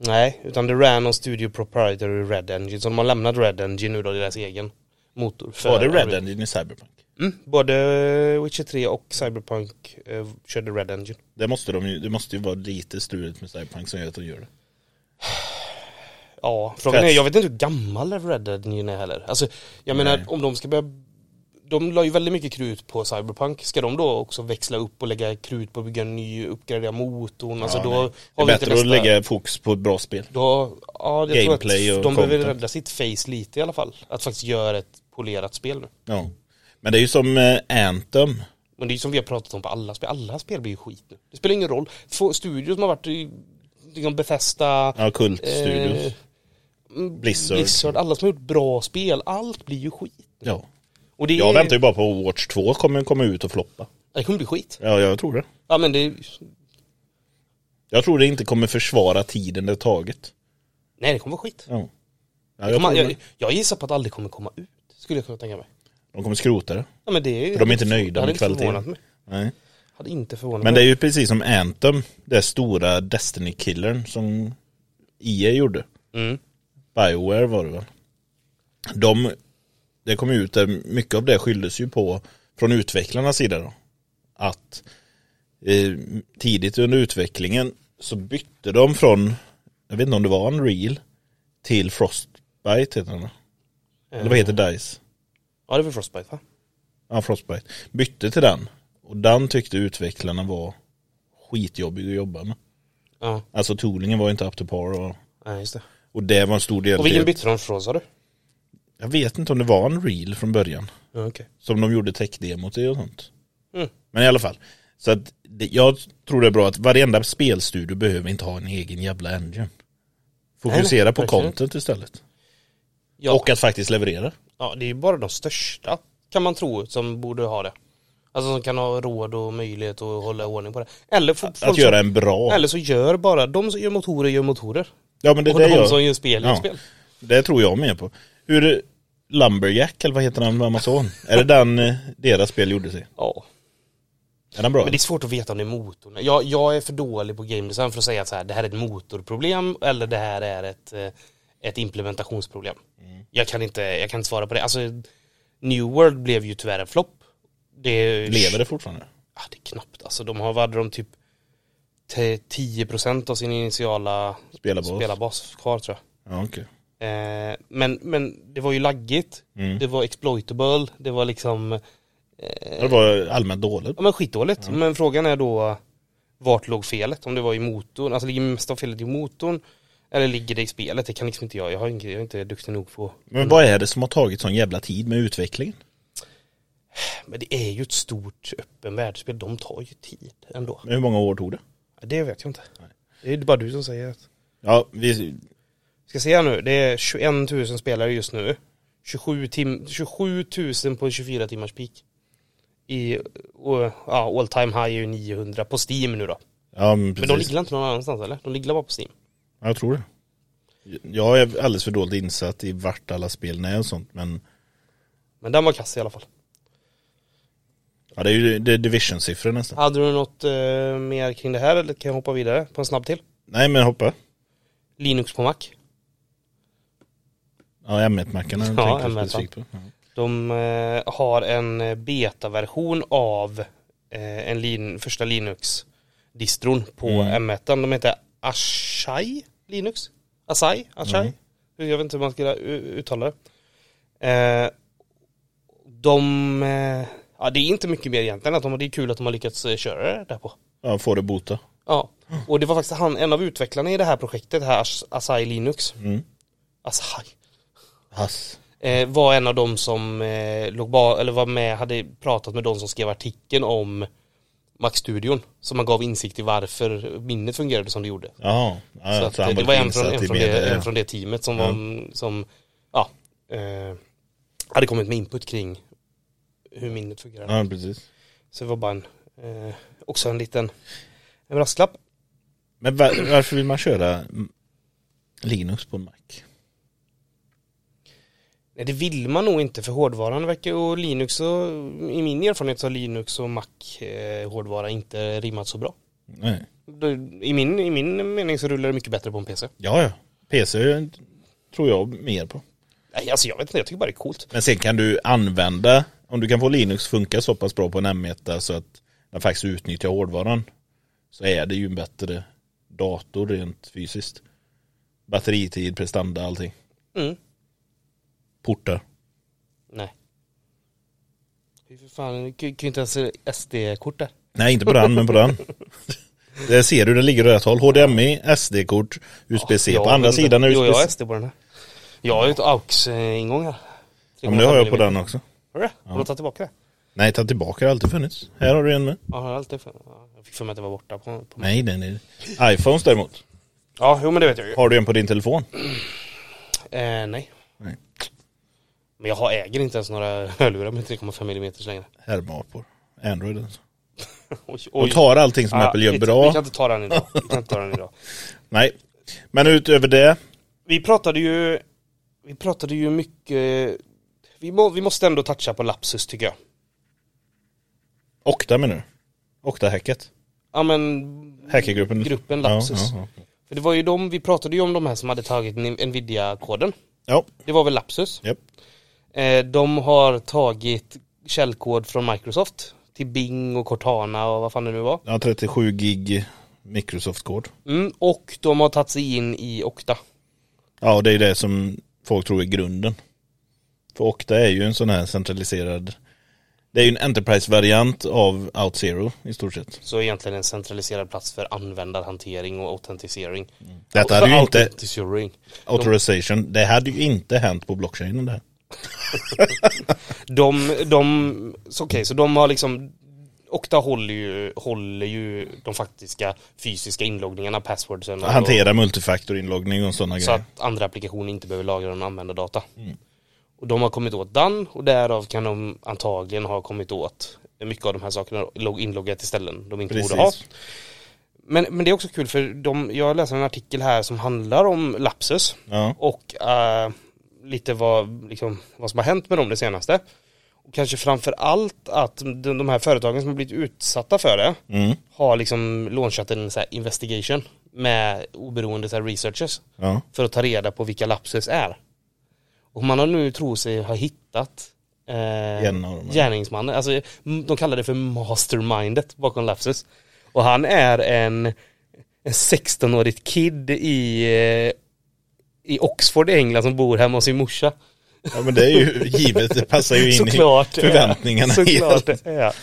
Nej, utan det ran on studio proprietary Red Engine. Så de har lämnat Red Engine nu då, deras egen motor. För-
Var det Red Engine i Cyberpunk?
Mm, både eh, Witcher 3 och Cyberpunk eh, körde Red Engine.
Det måste, de ju, det måste ju vara lite struligt med Cyberpunk som gör att de gör det.
Ja, frågan är,
Fett.
jag vet inte hur gammal Red Engine är heller. Alltså, jag
Nej.
menar om de ska börja de la ju väldigt mycket krut på Cyberpunk. Ska de då också växla upp och lägga krut på att bygga en ny, uppgradera motorn? Alltså
Ja,
då
nej. Det
har
är
vi inte
bättre
nästa...
att lägga fokus på ett bra spel.
Då, ja, jag tror
Gameplay och
att de behöver
content.
rädda sitt face lite i alla fall. Att faktiskt göra ett polerat spel nu.
Ja. Men det är ju som eh, Anthem.
Men det är ju som vi har pratat om på alla spel. Alla spel blir ju skit nu. Det spelar ingen roll. Få studios som har varit i liksom Bethesda,
Ja, Kult Studios.
eh,
Blizzard.
Blizzard, alla som har gjort bra spel. Allt blir ju skit.
Ja.
Och det,
Jag väntar ju bara på att Watch 2 kommer komma ut och floppa.
det kommer bli skit.
Ja, jag tror det.
Ja men det,
Jag tror det inte kommer försvara tiden det tagit.
nej det kommer vara skit.
Ja. Ja,
Jag,
jag
kommer,
tror
jag,
det.
jag gissar på att det aldrig kommer komma ut. Skulle jag kunna tänka mig.
De kommer skrota det.
Ja, men det är,
För de är inte nöjda
hade
med
inte
kvaliteten.
förvånat mig.
Nej.
Hade inte förvånat
Men det
mig.
är ju precis som Anthem, det stora Destiny-killern som EA gjorde.
Mm.
Bioware var det väl. De, det kom ju ut, där mycket av det skylldes ju på från utvecklarnas sida då. Att eh, tidigt under utvecklingen så bytte de från, jag vet inte om det var Unreal, till Frostbite heter den va? Eller vad heter DICE?
Ja det är väl Frostbite va?
Ja, Frostbite. Bytte till den. Och den tyckte utvecklarna var skitjobbig att jobba med.
Ja,
Alltså toolingen var inte up to par och,
ja just det.
och det var en stor del.
Och vilken
till-
bytte de från sa du?
Jag vet inte om det var en reel från början.
Ja, okej.
Som de gjorde tech-demot i och sånt.
Mm.
Men i alla fall. Så att det, jag tror det är bra att varenda spelstudio behöver inte ha en egen jävla engine.
Nej,
Fokusera
nej,
på
verkligen.
content istället.
Ja.
Och att faktiskt leverera.
Ja, det är ju bara de största kan man tro som borde ha det. Alltså som kan ha råd och möjlighet att hålla ordning på det. Eller, få- folk
Att
som,
göra en bra.
eller så gör bara, de som gör motorer gör motorer.
Ja men det,
och
det,
de
gör,
som gör spel gör
Ja.
spel.
det tror jag med på. Hur Lumberjack eller vad heter han med Amazon? är det den eh, deras spel gjorde sig?
Ja.
Är den bra?
Men det är svårt att veta om det är motorn. Jag, jag är för dålig på game design för att säga att så här, det här är ett motorproblem eller det här är ett, eh, ett implementationsproblem.
Mm.
Jag, kan inte, jag kan inte svara på det. Alltså, New World blev ju tyvärr en flopp. Det
Lever det fortfarande?
Ja, det är knappt. Alltså de har, vad hade de typ te- 10% av sin initiala
Spelarbas.
spelarbas kvar tror jag.
Ja okej.
Eh, men, men det var ju laggigt,
Mm.
det var exploitable, det var liksom,
Det var allmänt dåligt.
ja men skitdåligt. Men frågan är då vart låg felet? Om det var i motorn, alltså ligger mest av felet i motorn? Eller ligger det i spelet? Det kan liksom inte jag. Jag, har inte, jag är inte duktig nog på.
Men vad är det som har tagit sån jävla tid med utvecklingen?
Men det är ju ett stort öppen världsspel. De tar ju tid ändå.
Hur många år tog det?
Det vet jag inte. Det är ju bara du som säger. att-
Ja, vi,
Ska se här nu. Det är 21 000 spelare just nu. 27, tim- 27 000 på 24 timmars peak. I, och, ja, all time high är ju 900 på Steam nu då.
ja men
Men de
precis.
ligger inte någon annanstans eller? De ligger bara på Steam.
Ja, Jag tror det. Jag är alldeles för dåligt insatt i vart alla spelen är och sånt men
Men den var kass i alla fall.
ja, det är ju det är division-siffror nästan.
Hade du något eh, mer kring det här eller kan jag hoppa vidare på en snabb till?
Nej men hoppa.
Linux på Mac.
Ja M1-mackarna
Ja,
tänkte jag
M1-an.
specifikt på. Ja.
De eh, har en eh, betaversion av eh, en lin- första Linux-distron på
Mm.
M1. De heter Ashai Linux. Asai? Ashai? Jag vet inte hur man ska u- uttala det. Eh, de... Eh, ja, det är inte mycket mer egentligen. Att de, det är kul att de har lyckats eh, köra det där på.
Ja, får det bota.
Ja, och det var faktiskt han, en av utvecklarna i det här projektet, här As- Asai Linux,
Mm.
Asai,
Hass.
eh, var en av de som eh, låg ba- eller var med, hade pratat med de som skrev artikeln om Mac-studion, som man gav insikt i varför minnet fungerade som det gjorde.
Jaha. Ja,
Så
så
att,
han
eh, det
lite
var en från,
insatt
en,
i
från
media,
det,
ja.
en från det teamet som, var, som ja, eh, hade kommit med input kring hur minnet fungerar.
Ja, precis.
Så det var bara en, eh, också en liten en brasklapp.
Men var, varför vill man köra mm, Linux på en Mac?
Nej det vill man nog inte för hårdvaran verkar och Linux och i min erfarenhet så har Linux och Mac eh, hårdvara inte rimmat så bra.
Nej.
Det- I min, I min mening så rullar det mycket bättre på en PC.
Ja, ja. PC tror jag mer på.
Nej alltså jag vet inte, jag tycker bara det är coolt.
Men sen kan du använda, om du kan få Linux funka så pass bra på en M1 så att den faktiskt utnyttjar hårdvaran så är det ju en bättre dator rent fysiskt. Batteritid, prestanda, allting.
Mm.
Portar.
Nej. Hur för fan, kan ju inte ens SD-kort där.
Nej, inte på den, men på den. Där ser du, det ligger åt rätt håll. HDMI, SD-kort, USB-C.
Ja,
på andra
men-
sidan är
Jo jag har
USB-C.
SD på den här. Jag har ju ett AUX-ingång här.
Ja, men det har jag på den också.
Har du det? Har du tagit tillbaka det?
Nej, ta tillbaka, det har alltid funnits. Här har du en med.
Ja, har jag alltid för ja, Jag fick för mig att det var borta på, på
Nej, den är... iPhones däremot.
Ja, jo men det vet jag ju.
Har du en på din telefon?
Eh, nej.
Nej.
Men jag har, äger inte ens några (laughs) hörlurar med 3,5 mm längre.
Hermapor. Android alltså.
Oj, Ah,
Och tar allting som
Ja,
Apple gör
vi,
bra.
Vi kan inte ta den idag. Vi kan inte ta den idag.
Nej. Men utöver det.
Vi pratade ju, vi pratade ju mycket, vi, må, vi måste ändå toucha på lapsus tycker jag.
Okta menar du? Okta-hacket?
Ja men,
Hackergruppen?
gruppen lapsus.
Ja, ja,
För det var ju de, vi pratade ju om de här som hade tagit Ni- Nvidia-koden.
ja.
Det var väl lapsus.
ja japp.
Eh, de har tagit källkod från Microsoft till Bing och Cortana och vad fan det nu var.
ja, 37 gig Microsoft-kod.
Mm, och de har tagit sig in i Okta.
Ja, och det är det som folk tror är grunden. För Okta är ju en sån här centraliserad det är ju en Enterprise-variant av OutZero i stort sett.
Så egentligen en centraliserad plats för användarhantering och autentisering.
Detta hade ju inte
Autentisering.
authorization, det hade ju inte hänt på blockchainen det här.
De, de, så okej, så de har liksom Okta håller ju, håller ju de faktiska fysiska inloggningarna, passwordsen. och-
Hantera multifaktorinloggning och sådana
Så
grejer.
att andra applikationer inte behöver lagra någon användardata.
Mm.
Och de har kommit åt den och därav kan de antagligen ha kommit åt mycket av de här sakerna logg- inloggat till ställen de inte borde ha.
Precis.
Men, men det är också kul för de, jag läser en artikel här som handlar om lapsus
Ja.
och eh, lite vad, liksom, vad som har hänt med dem det senaste. Och kanske framför allt att de, de här företagen som har blivit utsatta för det
Mm.
har liksom launchat en så här investigation med oberoende så här researchers
ja.
för att ta reda på vilka lapsus är. Och man har nu tror sig ha hittat eh,
En av dem, ja.
gärningsmannen. Alltså, m- de kallar det för mastermindet bakom lapsus. Och han är en, en 16-årig kid i, eh, i Oxford, England som bor hemma hos sin morsa.
Ja men det är ju (laughs) givet, det passar ju in
Såklart
i
det är.
förväntningarna.
Såklart det är.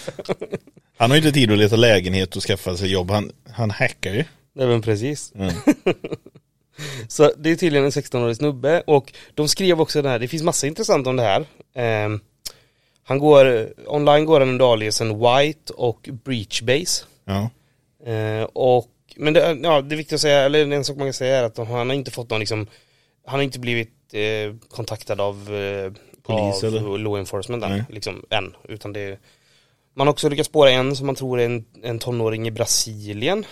Han har ju inte tid att leta lägenhet och skaffa sig jobb, han, han hackar ju.
Nej men precis.
Mm.
(laughs) Så det är tydligen en 16-årig snubbe och de skrev också det här, det finns massa intressant om det här. Ehm, han går, online går han under aliasen White och Breachbase.
Ja.
Eh, och, men det, ja, det är viktigt att säga, eller en sak man kan säga är att de- han har inte fått någon liksom, han har inte blivit eh, kontaktad av eh, av
Polis eller?
law enforcement än,
Nej.
liksom, än. Utan det, man har också lyckats spåra en som man tror är en, en tonåring i Brasilien.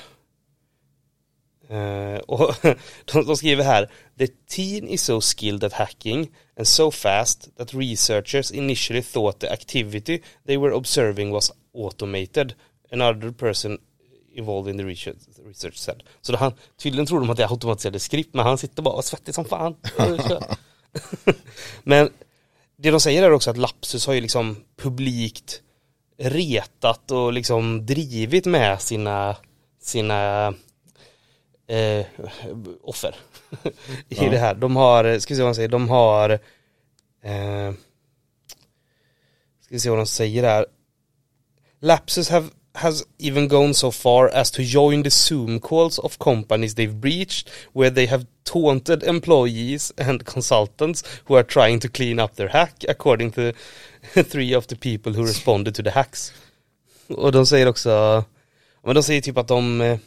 Eh, och (laughs) de, de skriver här, the teen is so skilled at hacking and so fast that researchers initially thought the activity they were observing was automated. Another person involved in the research, research said. Så då han, tydligen tror de att det är automatiserade skript men han sitter bara och är svettig som fan. men det de säger är också att Lapsus har ju liksom publikt retat och liksom drivit med sina, sina eh, offer (laughs) i
Ja.
det här. De har, ska vi se vad de säger, de har eh, ska vi se vad de säger här. Lapsus have has even gone so far as to join the Zoom calls of companies they've breached where they have taunted employees and consultants who are trying to clean up their hack according to (laughs) three of the people who responded to the hacks. Och de säger också, ja, men de säger typ att de eh,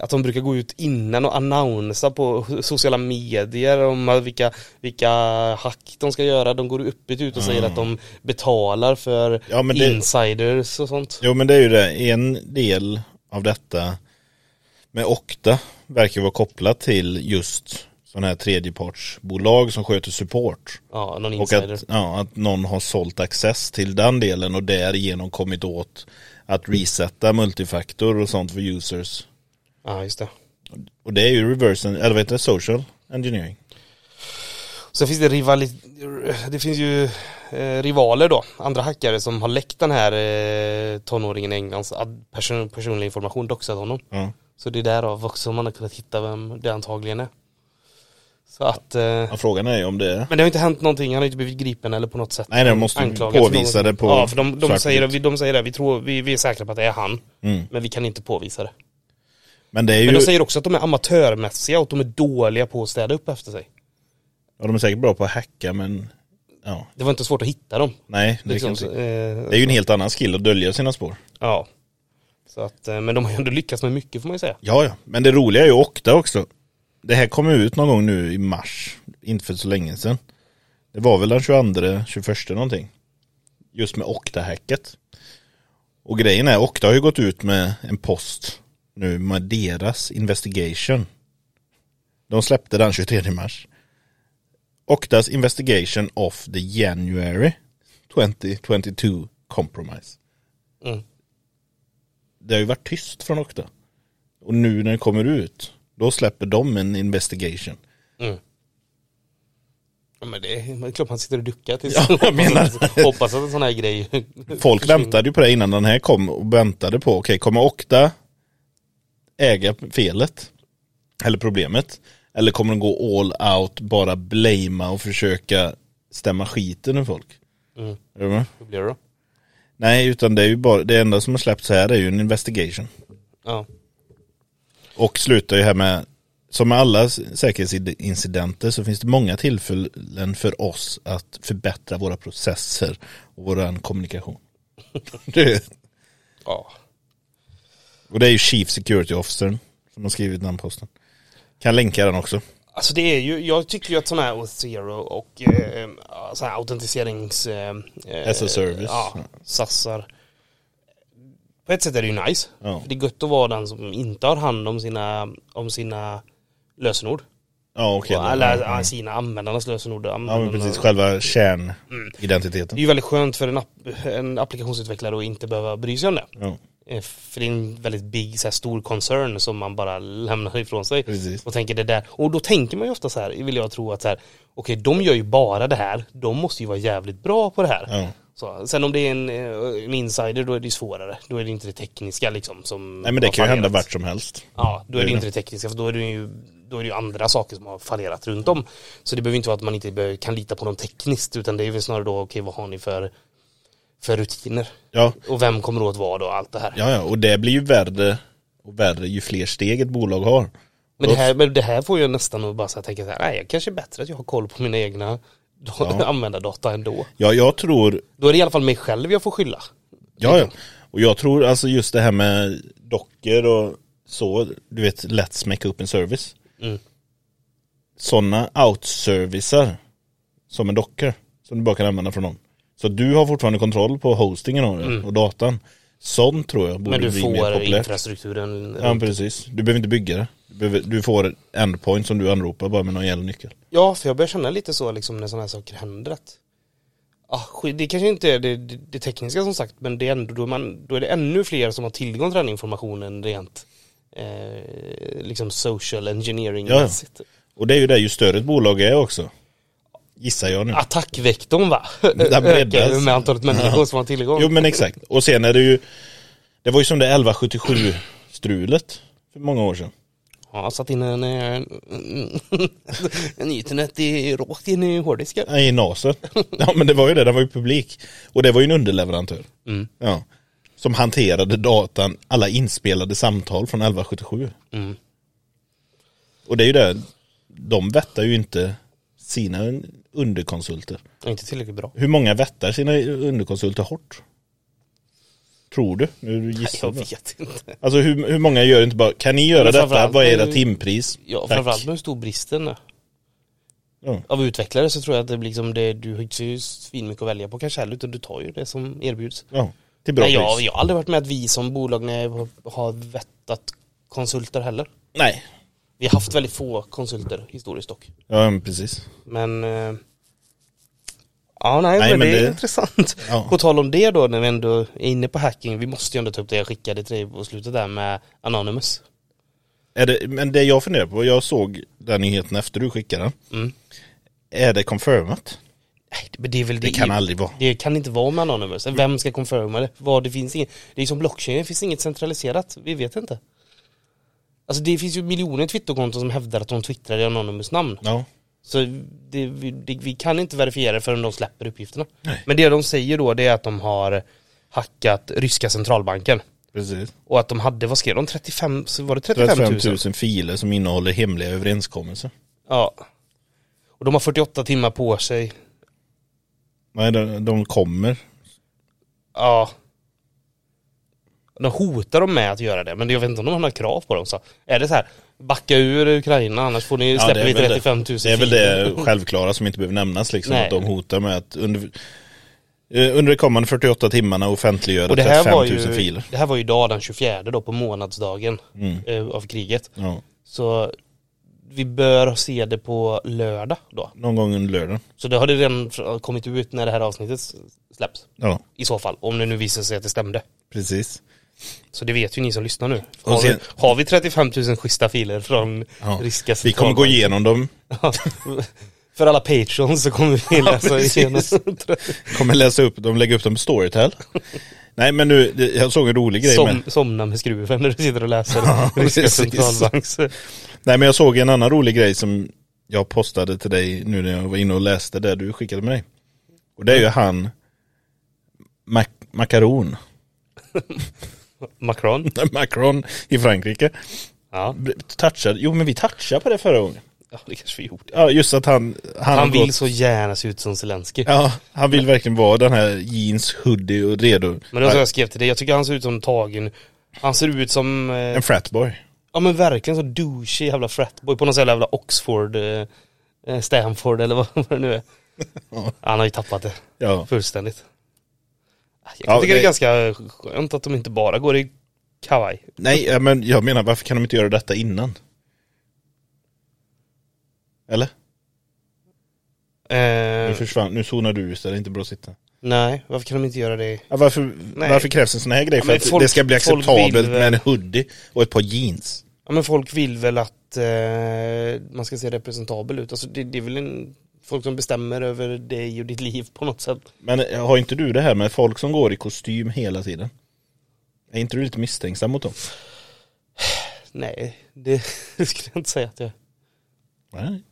att de brukar gå ut innan och annonsa på sociala medier om vilka, vilka hack de ska göra. De går öppet ut och säger att de betalar för
Mm. Ja, men det-
insiders och sånt.
Jo men det är ju det, en del av detta med Okta verkar vara kopplat till just sådana här tredjepartsbolag som sköter support.
Ja, någon
Och
insider.
att, ja, att någon har sålt access till den delen och därigenom kommit åt att resetta multifaktor och sånt för users.
Ja, just det.
Och det är ju reverse, eller vad heter det, social engineering.
Så finns det rivali... Det finns ju eh, rivaler då, andra hackare som har läckt den här eh, tonåringen i Englands ad- person, personlig information, doxat honom.
Ja.
Så det är därav också man har kunnat hitta vem det antagligen är. Så att... Eh,
Ja, frågan är ju om det är
Men det har inte hänt någonting, han har inte blivit gripen eller på något sätt
Nej, de måste
anklagad för
påvisa
något.
det på
Ja, för de, de,
svart
säger,
vitt.
vi- de säger det, vi, tror, vi, vi är säkra på att det är han,
Mm.
men vi kan inte påvisa det.
Men det är ju,
Men de säger också att de är amatörmässiga och att de är dåliga på att städa upp efter sig.
ja, de är säkert bra på att hacka men ja,
Det var inte svårt att hitta dem.
nej. Det,
Liksom.
kan inte,
Så, eh,
det är ju en helt annan skill att dölja sina spår.
Ja. Så att, eh, men de har ju ändå lyckats med mycket får man ju säga.
Ja, ja. Men det roliga är ju Okta också. Det här kom ju ut någon gång nu i mars, inte för så länge sedan. Det var väl den 22, 21 någonting. Just med Okta-hacket. Och grejen är, Okta har ju gått ut med en post nu med deras investigation. De släppte den 23 mars. Oktas investigation of the January 2022 compromise.
Mm.
Det har ju varit tyst från Okta. Och nu när det kommer ut, då släpper de en investigation.
Ja, men det är det är klart man sitter och duckar tills (laughs)
Ja, jag menar.
hoppas att en sån här
(laughs)
grej
Folk väntade ju på det innan den här kom och väntade på, okej, kommer Okta äga felet? Eller problemet? Eller kommer de gå all out, bara blamea och försöka stämma skiten ur folk?
Mm.
Är du med?
Hur blir det då?
Nej, utan det är ju bara, det enda som har släppts här är ju en investigation.
Ja.
Och slutar ju här med, som med alla säkerhetsincidenter så finns det många tillfällen för oss att förbättra våra processer och vår kommunikation. (laughs) Det-
ja.
och det är ju Chief Security Officer som har skrivit den posten. Kan länka den också.
Alltså det är ju, jag tycker ju att sådana här Auth Zero och eh, sådana här autentiserings... Eh, eh,
As a service.
Ja, sassar. På ett sätt är det ju nice.
Ja.
För det är gött att vara den som inte har hand om sina, om sina lösenord.
Ja, okej. då.
Eller
ja,
ja, sina användarnas lösenord.
men precis. Själva kärnidentiteten.
Det är ju väldigt skönt för en, app, en applikationsutvecklare att inte behöva bry sig om det.
Ja,
Eh, För det är en väldigt big, så här, stor koncern som man bara lämnar ifrån sig.
precis.
Och tänker det där. Och då tänker man ju ofta så här, vill jag tro att så här, okej de gör ju bara det här, de måste ju vara jävligt bra på det här.
Ja.
Så, sen om det är en, eh, en insider då är det ju svårare, då är det inte det tekniska liksom som
Nej men det
har
kan ju hända
fallerat.
vart Mm. som helst.
Ja, då är det
Det är
inte det tekniska för då är det ju då är det ju andra saker som har fallerat runt om. Så det behöver inte vara att man inte behöver- kan lita på dem tekniskt utan det är väl snarare då, okej vad har ni för, för rutiner?
Ja,
Och vem kommer åt vad och allt det här?
Ja, ja, och det blir ju värre och värre ju fler steg ett bolag har.
Men det, här, men det här får ju nästan att bara så här tänka så här, nej, jag kanske är bättre att jag har koll på mina egna ja. (laughs)
Ja.
användardata ändå.
Ja, jag tror
Då är det i alla fall mig själv jag får skylla.
Ja, ja. Och jag tror alltså just det här med dockor och så, du vet, let's make up en service.
Mm.
Sådana outservicer som en docker som du bara kan använda från någon. Så du har fortfarande kontroll på hostingen av det och datan. Sånt tror jag borde
Mm. Men du
bli mer
får
populärt.
infrastrukturen.
Ja, precis. Du behöver inte bygga det. Du, behöver, du får endpoint som du anropar bara med någon jävla nyckel.
Ja, för jag börjar känna lite så liksom när sådana här saker händer att ah, skit, det kanske inte är det, det, det tekniska som sagt men det är ändå, då, är man, då är det ännu fler som har tillgång till den informationen rent eh, liksom social engineering
Ja, ja.
mässigt.
Och det är ju det, ju större ett bolag är också. Gissar jag nu.
Attackvektorn va?
Mm. Den
(laughs)
breddas.
Ökar med antalet människor som har tillgång.
Jo men exakt. Och sen är det ju Det var ju som det 1177 strulet för många år sedan.
Ja, jag (laughs) satt in en, eh, en internet i, rakt in i hårddisken.
Nej, i NASER. Ja men det var ju det, den var ju publik. Och det var ju en underleverantör.
Mm.
Ja. Som hanterade datan, alla inspelade samtal från 1177.
Mm.
Och det är ju det, de vettar ju inte sina underkonsulter.
Inte tillräckligt bra.
Hur många vettar sina underkonsulter hårt? Tror du? Nu gissar
Jag
du.
vet inte.
Alltså hur, hur många gör inte bara, kan ni göra
Men
detta?
framförallt
Vad är
är
era
ju-
timpris?
Ja,
Tack. Mm.
framförallt med hur stor bristen är.
Ja.
Av utvecklare så tror jag att det blir liksom det, du har inte så svinmycket att välja på kanske heller utan du tar ju det som erbjuds.
Ja, till bra
Nej, jag,
pris.
jag har aldrig varit med att vi som bolag när jag har vettat konsulter heller.
Nej.
Vi har haft väldigt få konsulter historiskt dock.
Ja, men precis.
Men... eh, Ja, nej,
Nej,
men,
men
det är
det-
intressant.
Ja.
På tal om det då, när vi ändå är inne på hacking, vi måste ju ändå ta upp det jag skickade till dig på slutet där med Anonymous.
Är det, men det jag funderar på, jag såg den nyheten efter du skickade den.
Mm.
Är det confirmat?
Nej, det- men det är väl det.
Det kan aldrig vara.
Det kan inte vara med Anonymous. Vem ska confirma det? Vad det finns inget. Det är som blockchain, det finns inget centraliserat. Vi vet inte. Alltså det finns ju miljoner Twitterkonton som hävdar att de twittrar i Anonymous namn.
Ja.
Så det, vi, det, vi kan inte verifiera det förrän de släpper uppgifterna.
Nej.
Men det de säger då det är att de har hackat ryska centralbanken.
Precis.
Och att de hade, vad skrev de, 35, så var det 35 000?
35 000 filer som innehåller hemliga överenskommelser.
Ja. Och de har 48 timmar på sig.
Nej, de, de kommer.
Ja. De hotar dem med att göra det, men jag vet inte om de har några krav på dem. Så är det så här, backa ur Ukraina annars får ni,
Ja,
släpper
det är
vi
väl det.
35 000
Det är väl
filer. (laughs)
det självklara som inte behöver nämnas liksom.
Nej.
Att de hotar med att under, eh, under de kommande 48 timmarna offentliggöra
Och det här,
35
var
000
ju,
filer. Mm.
det här var ju idag den 24 då på månadsdagen eh, av kriget.
Ja.
Så vi bör se det på lördag då.
Någon gång under lördagen.
Så det har det redan fr- kommit ut när det här avsnittet s- släpps.
Ja,
I så fall, om det nu visar sig att det stämde.
precis.
Så det vet ju ni som lyssnar nu.
Och
Har,
sen-
vi, har vi 35 000 schyssta filer från
Ja.
ryska
Vi kommer gå
centralbanken?
igenom dem
Ja, (laughs) För alla patrons så kommer vi läsa
precis.
igenom.
Kommer läsa upp, de lägger upp dem på Storytel. Nej men nu, det- jag såg en rolig grej
Som,
med,
somna med skruven när du sitter och läser ryska
precis.
centralbanks...
Nej men jag såg en annan rolig grej som jag postade till dig nu när jag var inne och läste det du skickade med dig. Och det är ju
Mm.
han Mac Macaron, (laughs)
Macron.
Macron i Frankrike.
Ja.
Touchade, jo men vi touchade på det förra gången.
ja, det kanske vi gjorde.
Ja just att han Han,
Han
har
vill
gått-
så gärna se ut som Zelensky.
Ja, han vill verkligen vara den här jeans, hoodie och redo.
Men det var så jag skrev till dig, jag tycker han ser ut som tagen. Han ser ut som, eh,
En fratboy.
ja men verkligen så douchey jävla fratboy på någon sån här jävla Oxford, eh, eh, Stanford eller vad vad det nu är.
(laughs) Ja.
Han har ju tappat det
Ja.
fullständigt. Jag
Ja,
tycker det är
det-
ganska skönt att de inte bara går i kavaj.
Nej, ja, men jag menar varför kan de inte göra detta innan? Eller? Nu
Eh,
försvann, nu zonar du ut där, det är inte bra att sitta.
nej, varför kan de inte göra det?
Ja, varför, varför krävs en sån här grej?
Ja,
för
men
att
folk-
det ska bli
folk
acceptabelt
vill väl-
med en hoodie och ett par jeans.
Ja men folk vill väl att eh, man ska se representabel ut. Alltså det, det är väl en, folk som bestämmer över dig och ditt liv på något sätt.
Men eh, har inte du det här med folk som går i kostym hela tiden? Är inte du lite misstänksam mot dem?
Nej, det (laughs) skulle jag inte säga att jag (laughs)
Nej.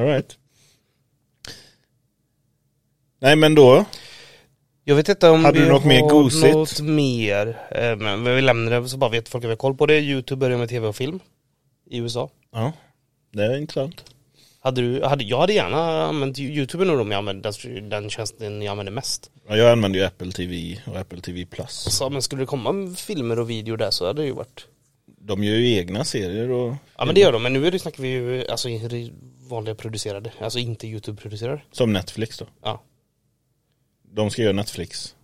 All right. Nej men då,
Jag vet inte om
Hade
vi
du något mer
har
gosigt?
något mer. Eh, Men vi lämnar det så bara vet folk att vi har koll på det. Youtube börjar med tv och film. i USA.
Ja, det är intressant.
Hade du, hade, jag hade gärna använt YouTube nog om jag använde den- den tjänsten jag använder mest.
Ja, jag använder ju Apple TV och Apple TV Plus.
Så, men skulle det komma filmer och video där så hade det ju varit
De gör ju egna serier och
Ja men det gör de, men nu är det, snackar vi ju alltså, i re- vanliga producerade, alltså inte YouTube-producerade.
som Netflix då.
Ja.
De ska göra Netflix.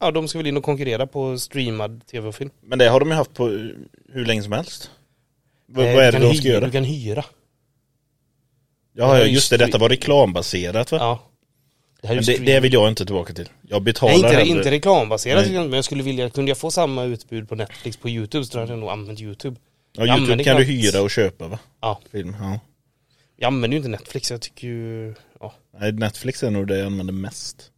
ja, de ska väl in och konkurrera på streamad tv och film.
Men det har de ju haft på eh, hur länge som helst. V-
Eh,
vad
du
är det
kan
de
hy-
ska göra?
Du kan hyra.
Ja,
det
ja,
är ju
just det.
stre-
Detta var reklambaserat va?
Ja. Det här är ju
Men det,
stream.
det vill jag inte tillbaka till. Jag betalar
Nej, inte,
hellre.
inte reklambaserat,
Nej.
men jag skulle vilja, kunde jag få samma utbud på Netflix på YouTube så hade jag nog använt YouTube.
ja,
jag
Youtube
använder
kan du
knappt-
hyra och köpa va?
Ja.
Film, ja.
Jag använder ju inte Netflix, jag tycker ju, ja.
Nej, Netflix är nog det jag använder mest.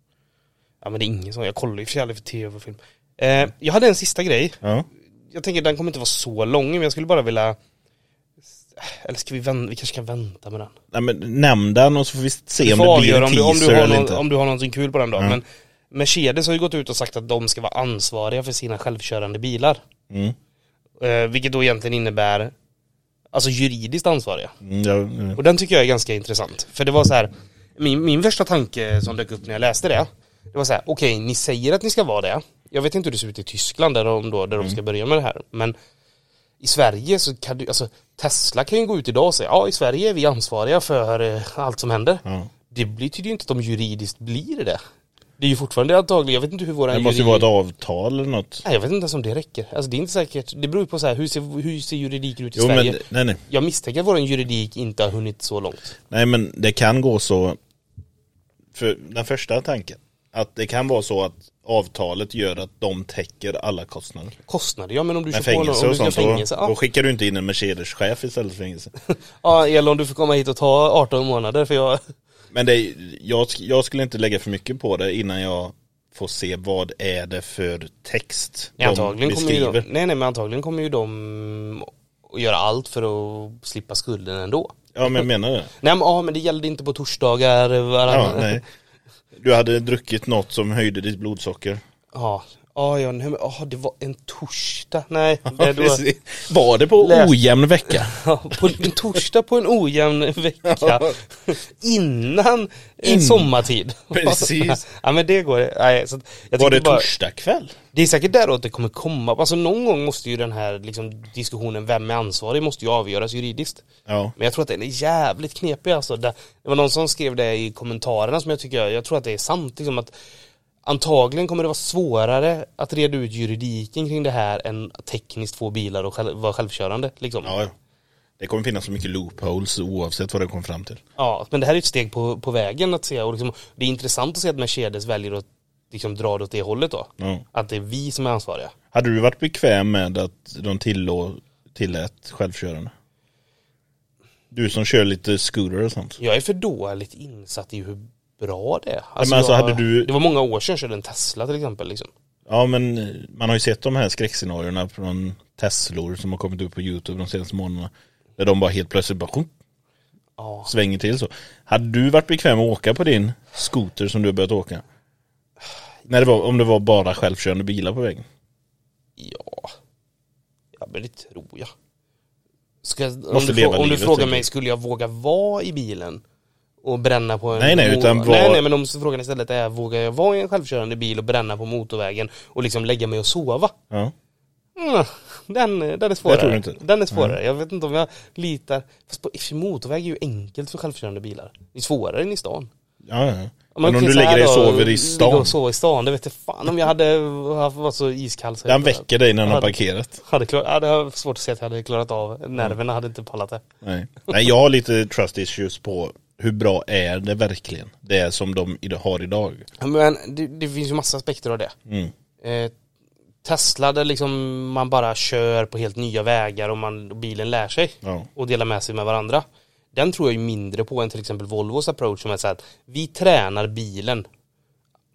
Ja men det är ingen sån, jag kollar ju för sig aldrig för tv och film. Eh, jag hade en sista grej.
Ja.
jag tänker den kommer inte vara så lång, men jag skulle bara vilja eller ska vi vänta, vi kanske kan vänta med den.
Nej men nämn den och så får vi se
Du
om
får
det blir en
avgöra om du, om,
teaser
du har
eller
någon,
inte.
om du har någonting kul på den dagen.
Ja.
Men Mercedes har ju gått ut och sagt att de ska vara ansvariga för sina självkörande bilar.
Mm.
Eh, vilket då egentligen innebär, alltså juridiskt ansvariga.
Mm, jag, eh,
Och den tycker jag är ganska intressant. För det var så här, min, min första tanke som dök upp när jag läste det, det var så här, okej ni säger att ni ska vara det. Jag vet inte hur det ser ut i Tyskland där de, då, där de
Mm.
ska börja med det här. Men i Sverige så kan du, alltså Tesla kan ju gå ut idag och säga, ja i Sverige är vi ansvariga för eh, allt som händer.
ja.
Det betyder ju inte att de juridiskt blir det. Det är ju fortfarande antagligen, jag vet inte hur våra
Det måste ju
juridi-
vara ett avtal eller något.
Nej, jag vet inte ens om det räcker. Alltså det är inte säkert, det beror ju på så här, hur ser, hur ser juridiken ut i
Jo men,
Sverige?
nej, nej.
Jag misstänker att vår juridik inte har hunnit så långt.
nej men det kan gå så. För den första tanken. Att det kan vara så att avtalet gör att de täcker alla kostnader.
kostnader. Ja men om du
Men
kör på någon,
fängelse
om du
och
ska
sånt, då,
fängelse.
då
Ja.
skickar du inte in en Mercedes-chef istället för fängelse.
ja eller om du får komma hit och ta 18 månader för jag...
Men det, är- jag, sk- jag skulle inte lägga för mycket på det innan jag får se vad är det för text
Nej, (laughs) antagligen kommer ju de,
beskriver.
nej nej men antagligen kommer ju de att göra allt för att slippa skulden ändå.
Ja men jag menar det.
Nej men, ja, men det gällde inte på torsdagar
Ja,
varannan.
nej. Du hade druckit något som höjde ditt blodsocker.
ja. Ja, ja, nej, men, ja, det var en torsdag. Nej, det, det var,
Precis. (laughs) var det på
Läs-
ojämn vecka?
ja, på en torsdag på en ojämn
(laughs)
vecka. Innan
In-
In. sommartid.
Precis.
(laughs) ja men det går, nej, så att jag
Var
tycker
det
bara-
torsdag kväll?
Det är säkert däråt det kommer komma. Alltså någon gång måste ju den här liksom, diskussionen, vem är ansvarig, måste ju avgöras juridiskt.
Ja.
Men jag tror att den är jävligt knepig alltså. Det det var någon som skrev det i kommentarerna som jag tycker, jag tror att det är sant liksom att antagligen kommer det vara svårare att reda ut juridiken kring det här än att tekniskt få bilar och själv, vara självkörande liksom. Ja.
ja. Det kommer finnas så mycket loopholes oavsett vad det kommer fram till.
men det här är ett steg på, på vägen att se och liksom, det är intressant att se att Mercedes väljer att liksom dra det åt det hållet då.
Ja.
Att det är vi som är ansvariga.
Hade du varit bekväm med att de tillå- tillät självkörande? Du som kör lite scooter och sånt.
Jag är för dåligt insatt i hur bra det är. Alltså,
men alltså,
jag,
hade du-
Det var många år sedan jag körde en Tesla till exempel. Liksom.
Ja men eh, man har ju sett de här skräckscenarierna från Teslor som har kommit upp på YouTube de senaste månaderna. Där de bara helt plötsligt bara sjunk,
Ja.
svänger till så. Hade du varit bekväm att åka på din skoter som du har börjat åka? När det var, om det var bara självkörande bilar på vägen.
ja. Ja men det tror jag. Ska, jag- om
Måste
du,
leva
frå- om du
livet,
frågar
tänker
mig,
jag.
skulle jag våga vara i bilen? Och bränna på en
Nej, nej, utan
mo-
var-
nej, nej men om frågan istället är vågar jag vara i en självkörande bil och bränna på motorvägen och liksom lägga mig och sova?
Ja.
Mm, den, den är svårare.
tror du inte.
Den är svårare. Jag vet inte om jag litar. Fast på i och för sig, motorväg är ju enkelt för självkörande bilar. Det är svårare än i stan.
Ja, ja.
Ja,
Men om
okej,
du
så
lägger
här
dig och
då,
sover i
Ligga
stan.
och sover i stan, det vet jag fan om jag hade haft- varit så iskall så jag
Den
hade-
väcker dig när den har
hade-
parkerat.
Hade klarat, ja, det har svårt att se att jag hade klarat av,
Mm.
nerverna hade inte pallat det.
Nej. Nej, jag har lite trust issues på hur bra är det verkligen? Det är som de i- har idag.
Ja, Men det, det finns ju massa aspekter av det.
Mm.
Eh, Tesla där liksom man bara kör på helt nya vägar och, man, och bilen lär sig.
Ja.
och dela med sig med varandra. Den tror jag ju mindre på än till exempel Volvos approach som är så här att vi tränar bilen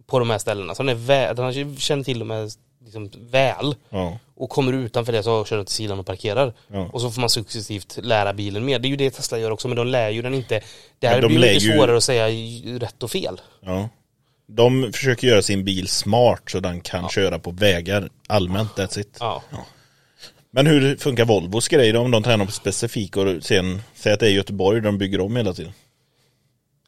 på de här ställena. Så den, är väl, den känner till de här liksom väl
Ja.
och kommer du utanför det så kör den till sidan och parkerar.
Ja.
Och så får man successivt lära bilen mer. Det är ju det Tesla gör också men de lär ju den inte. Det
Men
här
de
blir
lär
ju mycket
ju-
svårare att säga ju- rätt och fel.
ja. De försöker göra sin bil smart så den kan köra på vägar allmänt, that's it.
Ja.
Men hur funkar Volvos grej då om de tränar på specifik och sen, säg att det är Göteborg de bygger om hela tiden.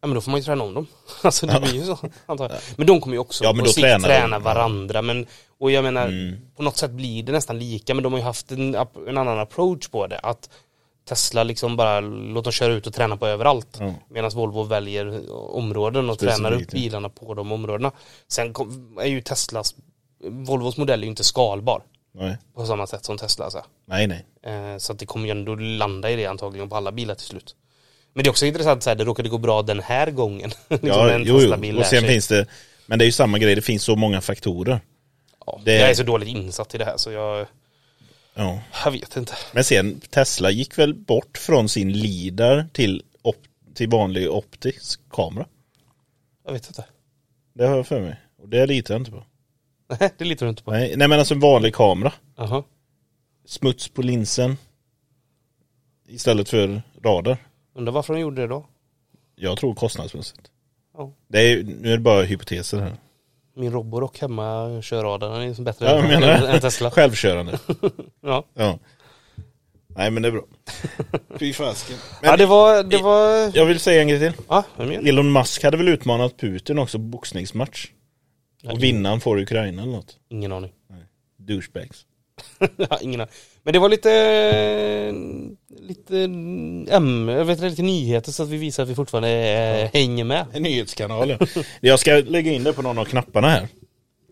Ja men då får man ju träna om dem. (laughs) Alltså det blir ju så antar jag. Men de kommer ju också
Ja, Mm. men
på
då
sikt
tränar de.
träna varandra. Men, och jag menar, på något sätt blir det nästan lika. Men de har ju haft en, ap- en annan approach på det. Att Tesla liksom bara, låt dem köra ut och träna på överallt.
Ja.
Medan Volvo väljer områden och
Specifikt,
tränar upp
ja.
bilarna på de områdena. Sen kom, är ju Teslas, Volvos modell är ju inte skalbar
Nej,
på samma sätt som Tesla. Så.
nej. nej.
Eh, Så att det kommer ju ändå landa i det antagligen på alla bilar till slut. Men det är också intressant så här, det råkade gå bra den här gången. (laughs) liksom när
Ja,
en
jo,
Tesla-bil
jo. Och
lär
sen
sig.
finns det, men det är ju samma grej, det finns så många faktorer.
ja,
det-
Jag är så dåligt insatt i det här så jag,
Ja.
jag vet inte.
Men sen Tesla gick väl bort från sin lidar till, op, till vanlig optisk kamera.
Jag vet inte. (laughs)
Det har jag för mig. Och det litar jag inte på.
Nej, det litar du inte på.
Nej, nej men alltså en vanlig kamera.
Jaha.
Smuts på linsen. Istället för radar.
Undrar varför de gjorde det då?
Jag tror kostnadsmässigt.
Ja.
Det är, nu är det bara hypoteser här.
Min Roborock hemma kör radarn, den är liksom bättre
Ja, jag
än,
menar
än,
det.
än Tesla.
Självkörande.
Ja.
Ja. Nej men det är bra. (laughs) Fy fasken. Men
ja, det var, det var,
Jag vill säga en grej till.
ja, vem är det?
Elon Musk hade väl utmanat Putin också på boxningsmatch. Och vinnaren får Ukraina eller något.
ingen aning. (laughs)
Douchebags.
Ja, Ingen aning. Men det var lite, lite, ämne, jag vet inte, lite nyheter så att vi visar att vi fortfarande eh, hänger med.
(laughs) En nyhetskanal ja. Jag ska lägga in det på någon av knapparna här.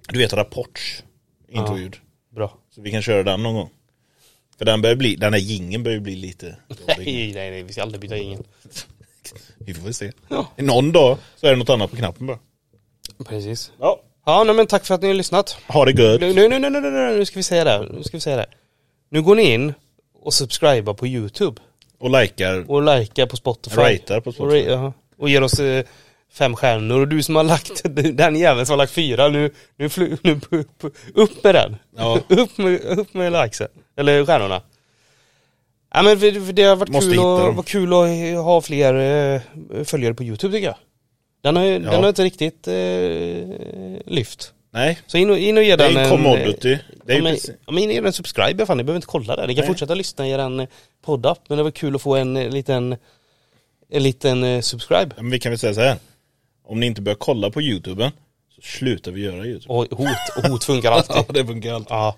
Du vet Rapports introljud.
Bra.
Så vi kan köra den någon gång. För den börjar bli, den här jingeln börjar bli lite jobbig.
(laughs) Nej, nej, nej, vi ska aldrig byta ingen.
Vi får väl se.
Ja.
Någon dag så är det något annat på knappen bara.
Precis.
Ja.
Ja, nej, men tack för att ni har lyssnat.
Ha det gött.
Nu, nu, nu, nu, nu, nu, nu, nu ska vi säga det. här. Nu ska vi säga det. här. Nu går ni in och subscribar på YouTube.
Och likar.
Och likar på Spotify.
Ratear på Spotify.
Och, ra- jaha. och ger oss eh, fem stjärnor. Och du som har lagt, (laughs) den jäveln som har lagt fyra, nu, nu, fly, nu upp, upp med den.
Ja.
(laughs) upp, med, upp med likesen. Eller stjärnorna. Ja, men det, det har varit
Måste
kul,
hitta
och,
dem.
var kul att ha fler eh, följare på YouTube tycker jag. Den har, ju- den har inte riktigt eh, lyft. (laughs)
Nej.
Så in och, in och ge
Det
den
är en commodity. Det
ja,
är ju
men,
precis-
ja, men in och ge den en subscribe fan, ni behöver inte kolla där. Ni kan
Nej.
fortsätta lyssna i den eh, poddapp, men det var kul att få en eh, liten, en liten eh, subscribe.
Ja, men vi kan väl säga så här. Om ni inte börjar kolla på YouTuben så slutar vi göra YouTube.
Och hot, och hot funkar
(laughs)
alltid.
det funkar alltid.
ja.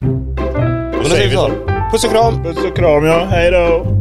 Då
Men då säger vi så. Puss och kram!
Puss och kram ja, hej då.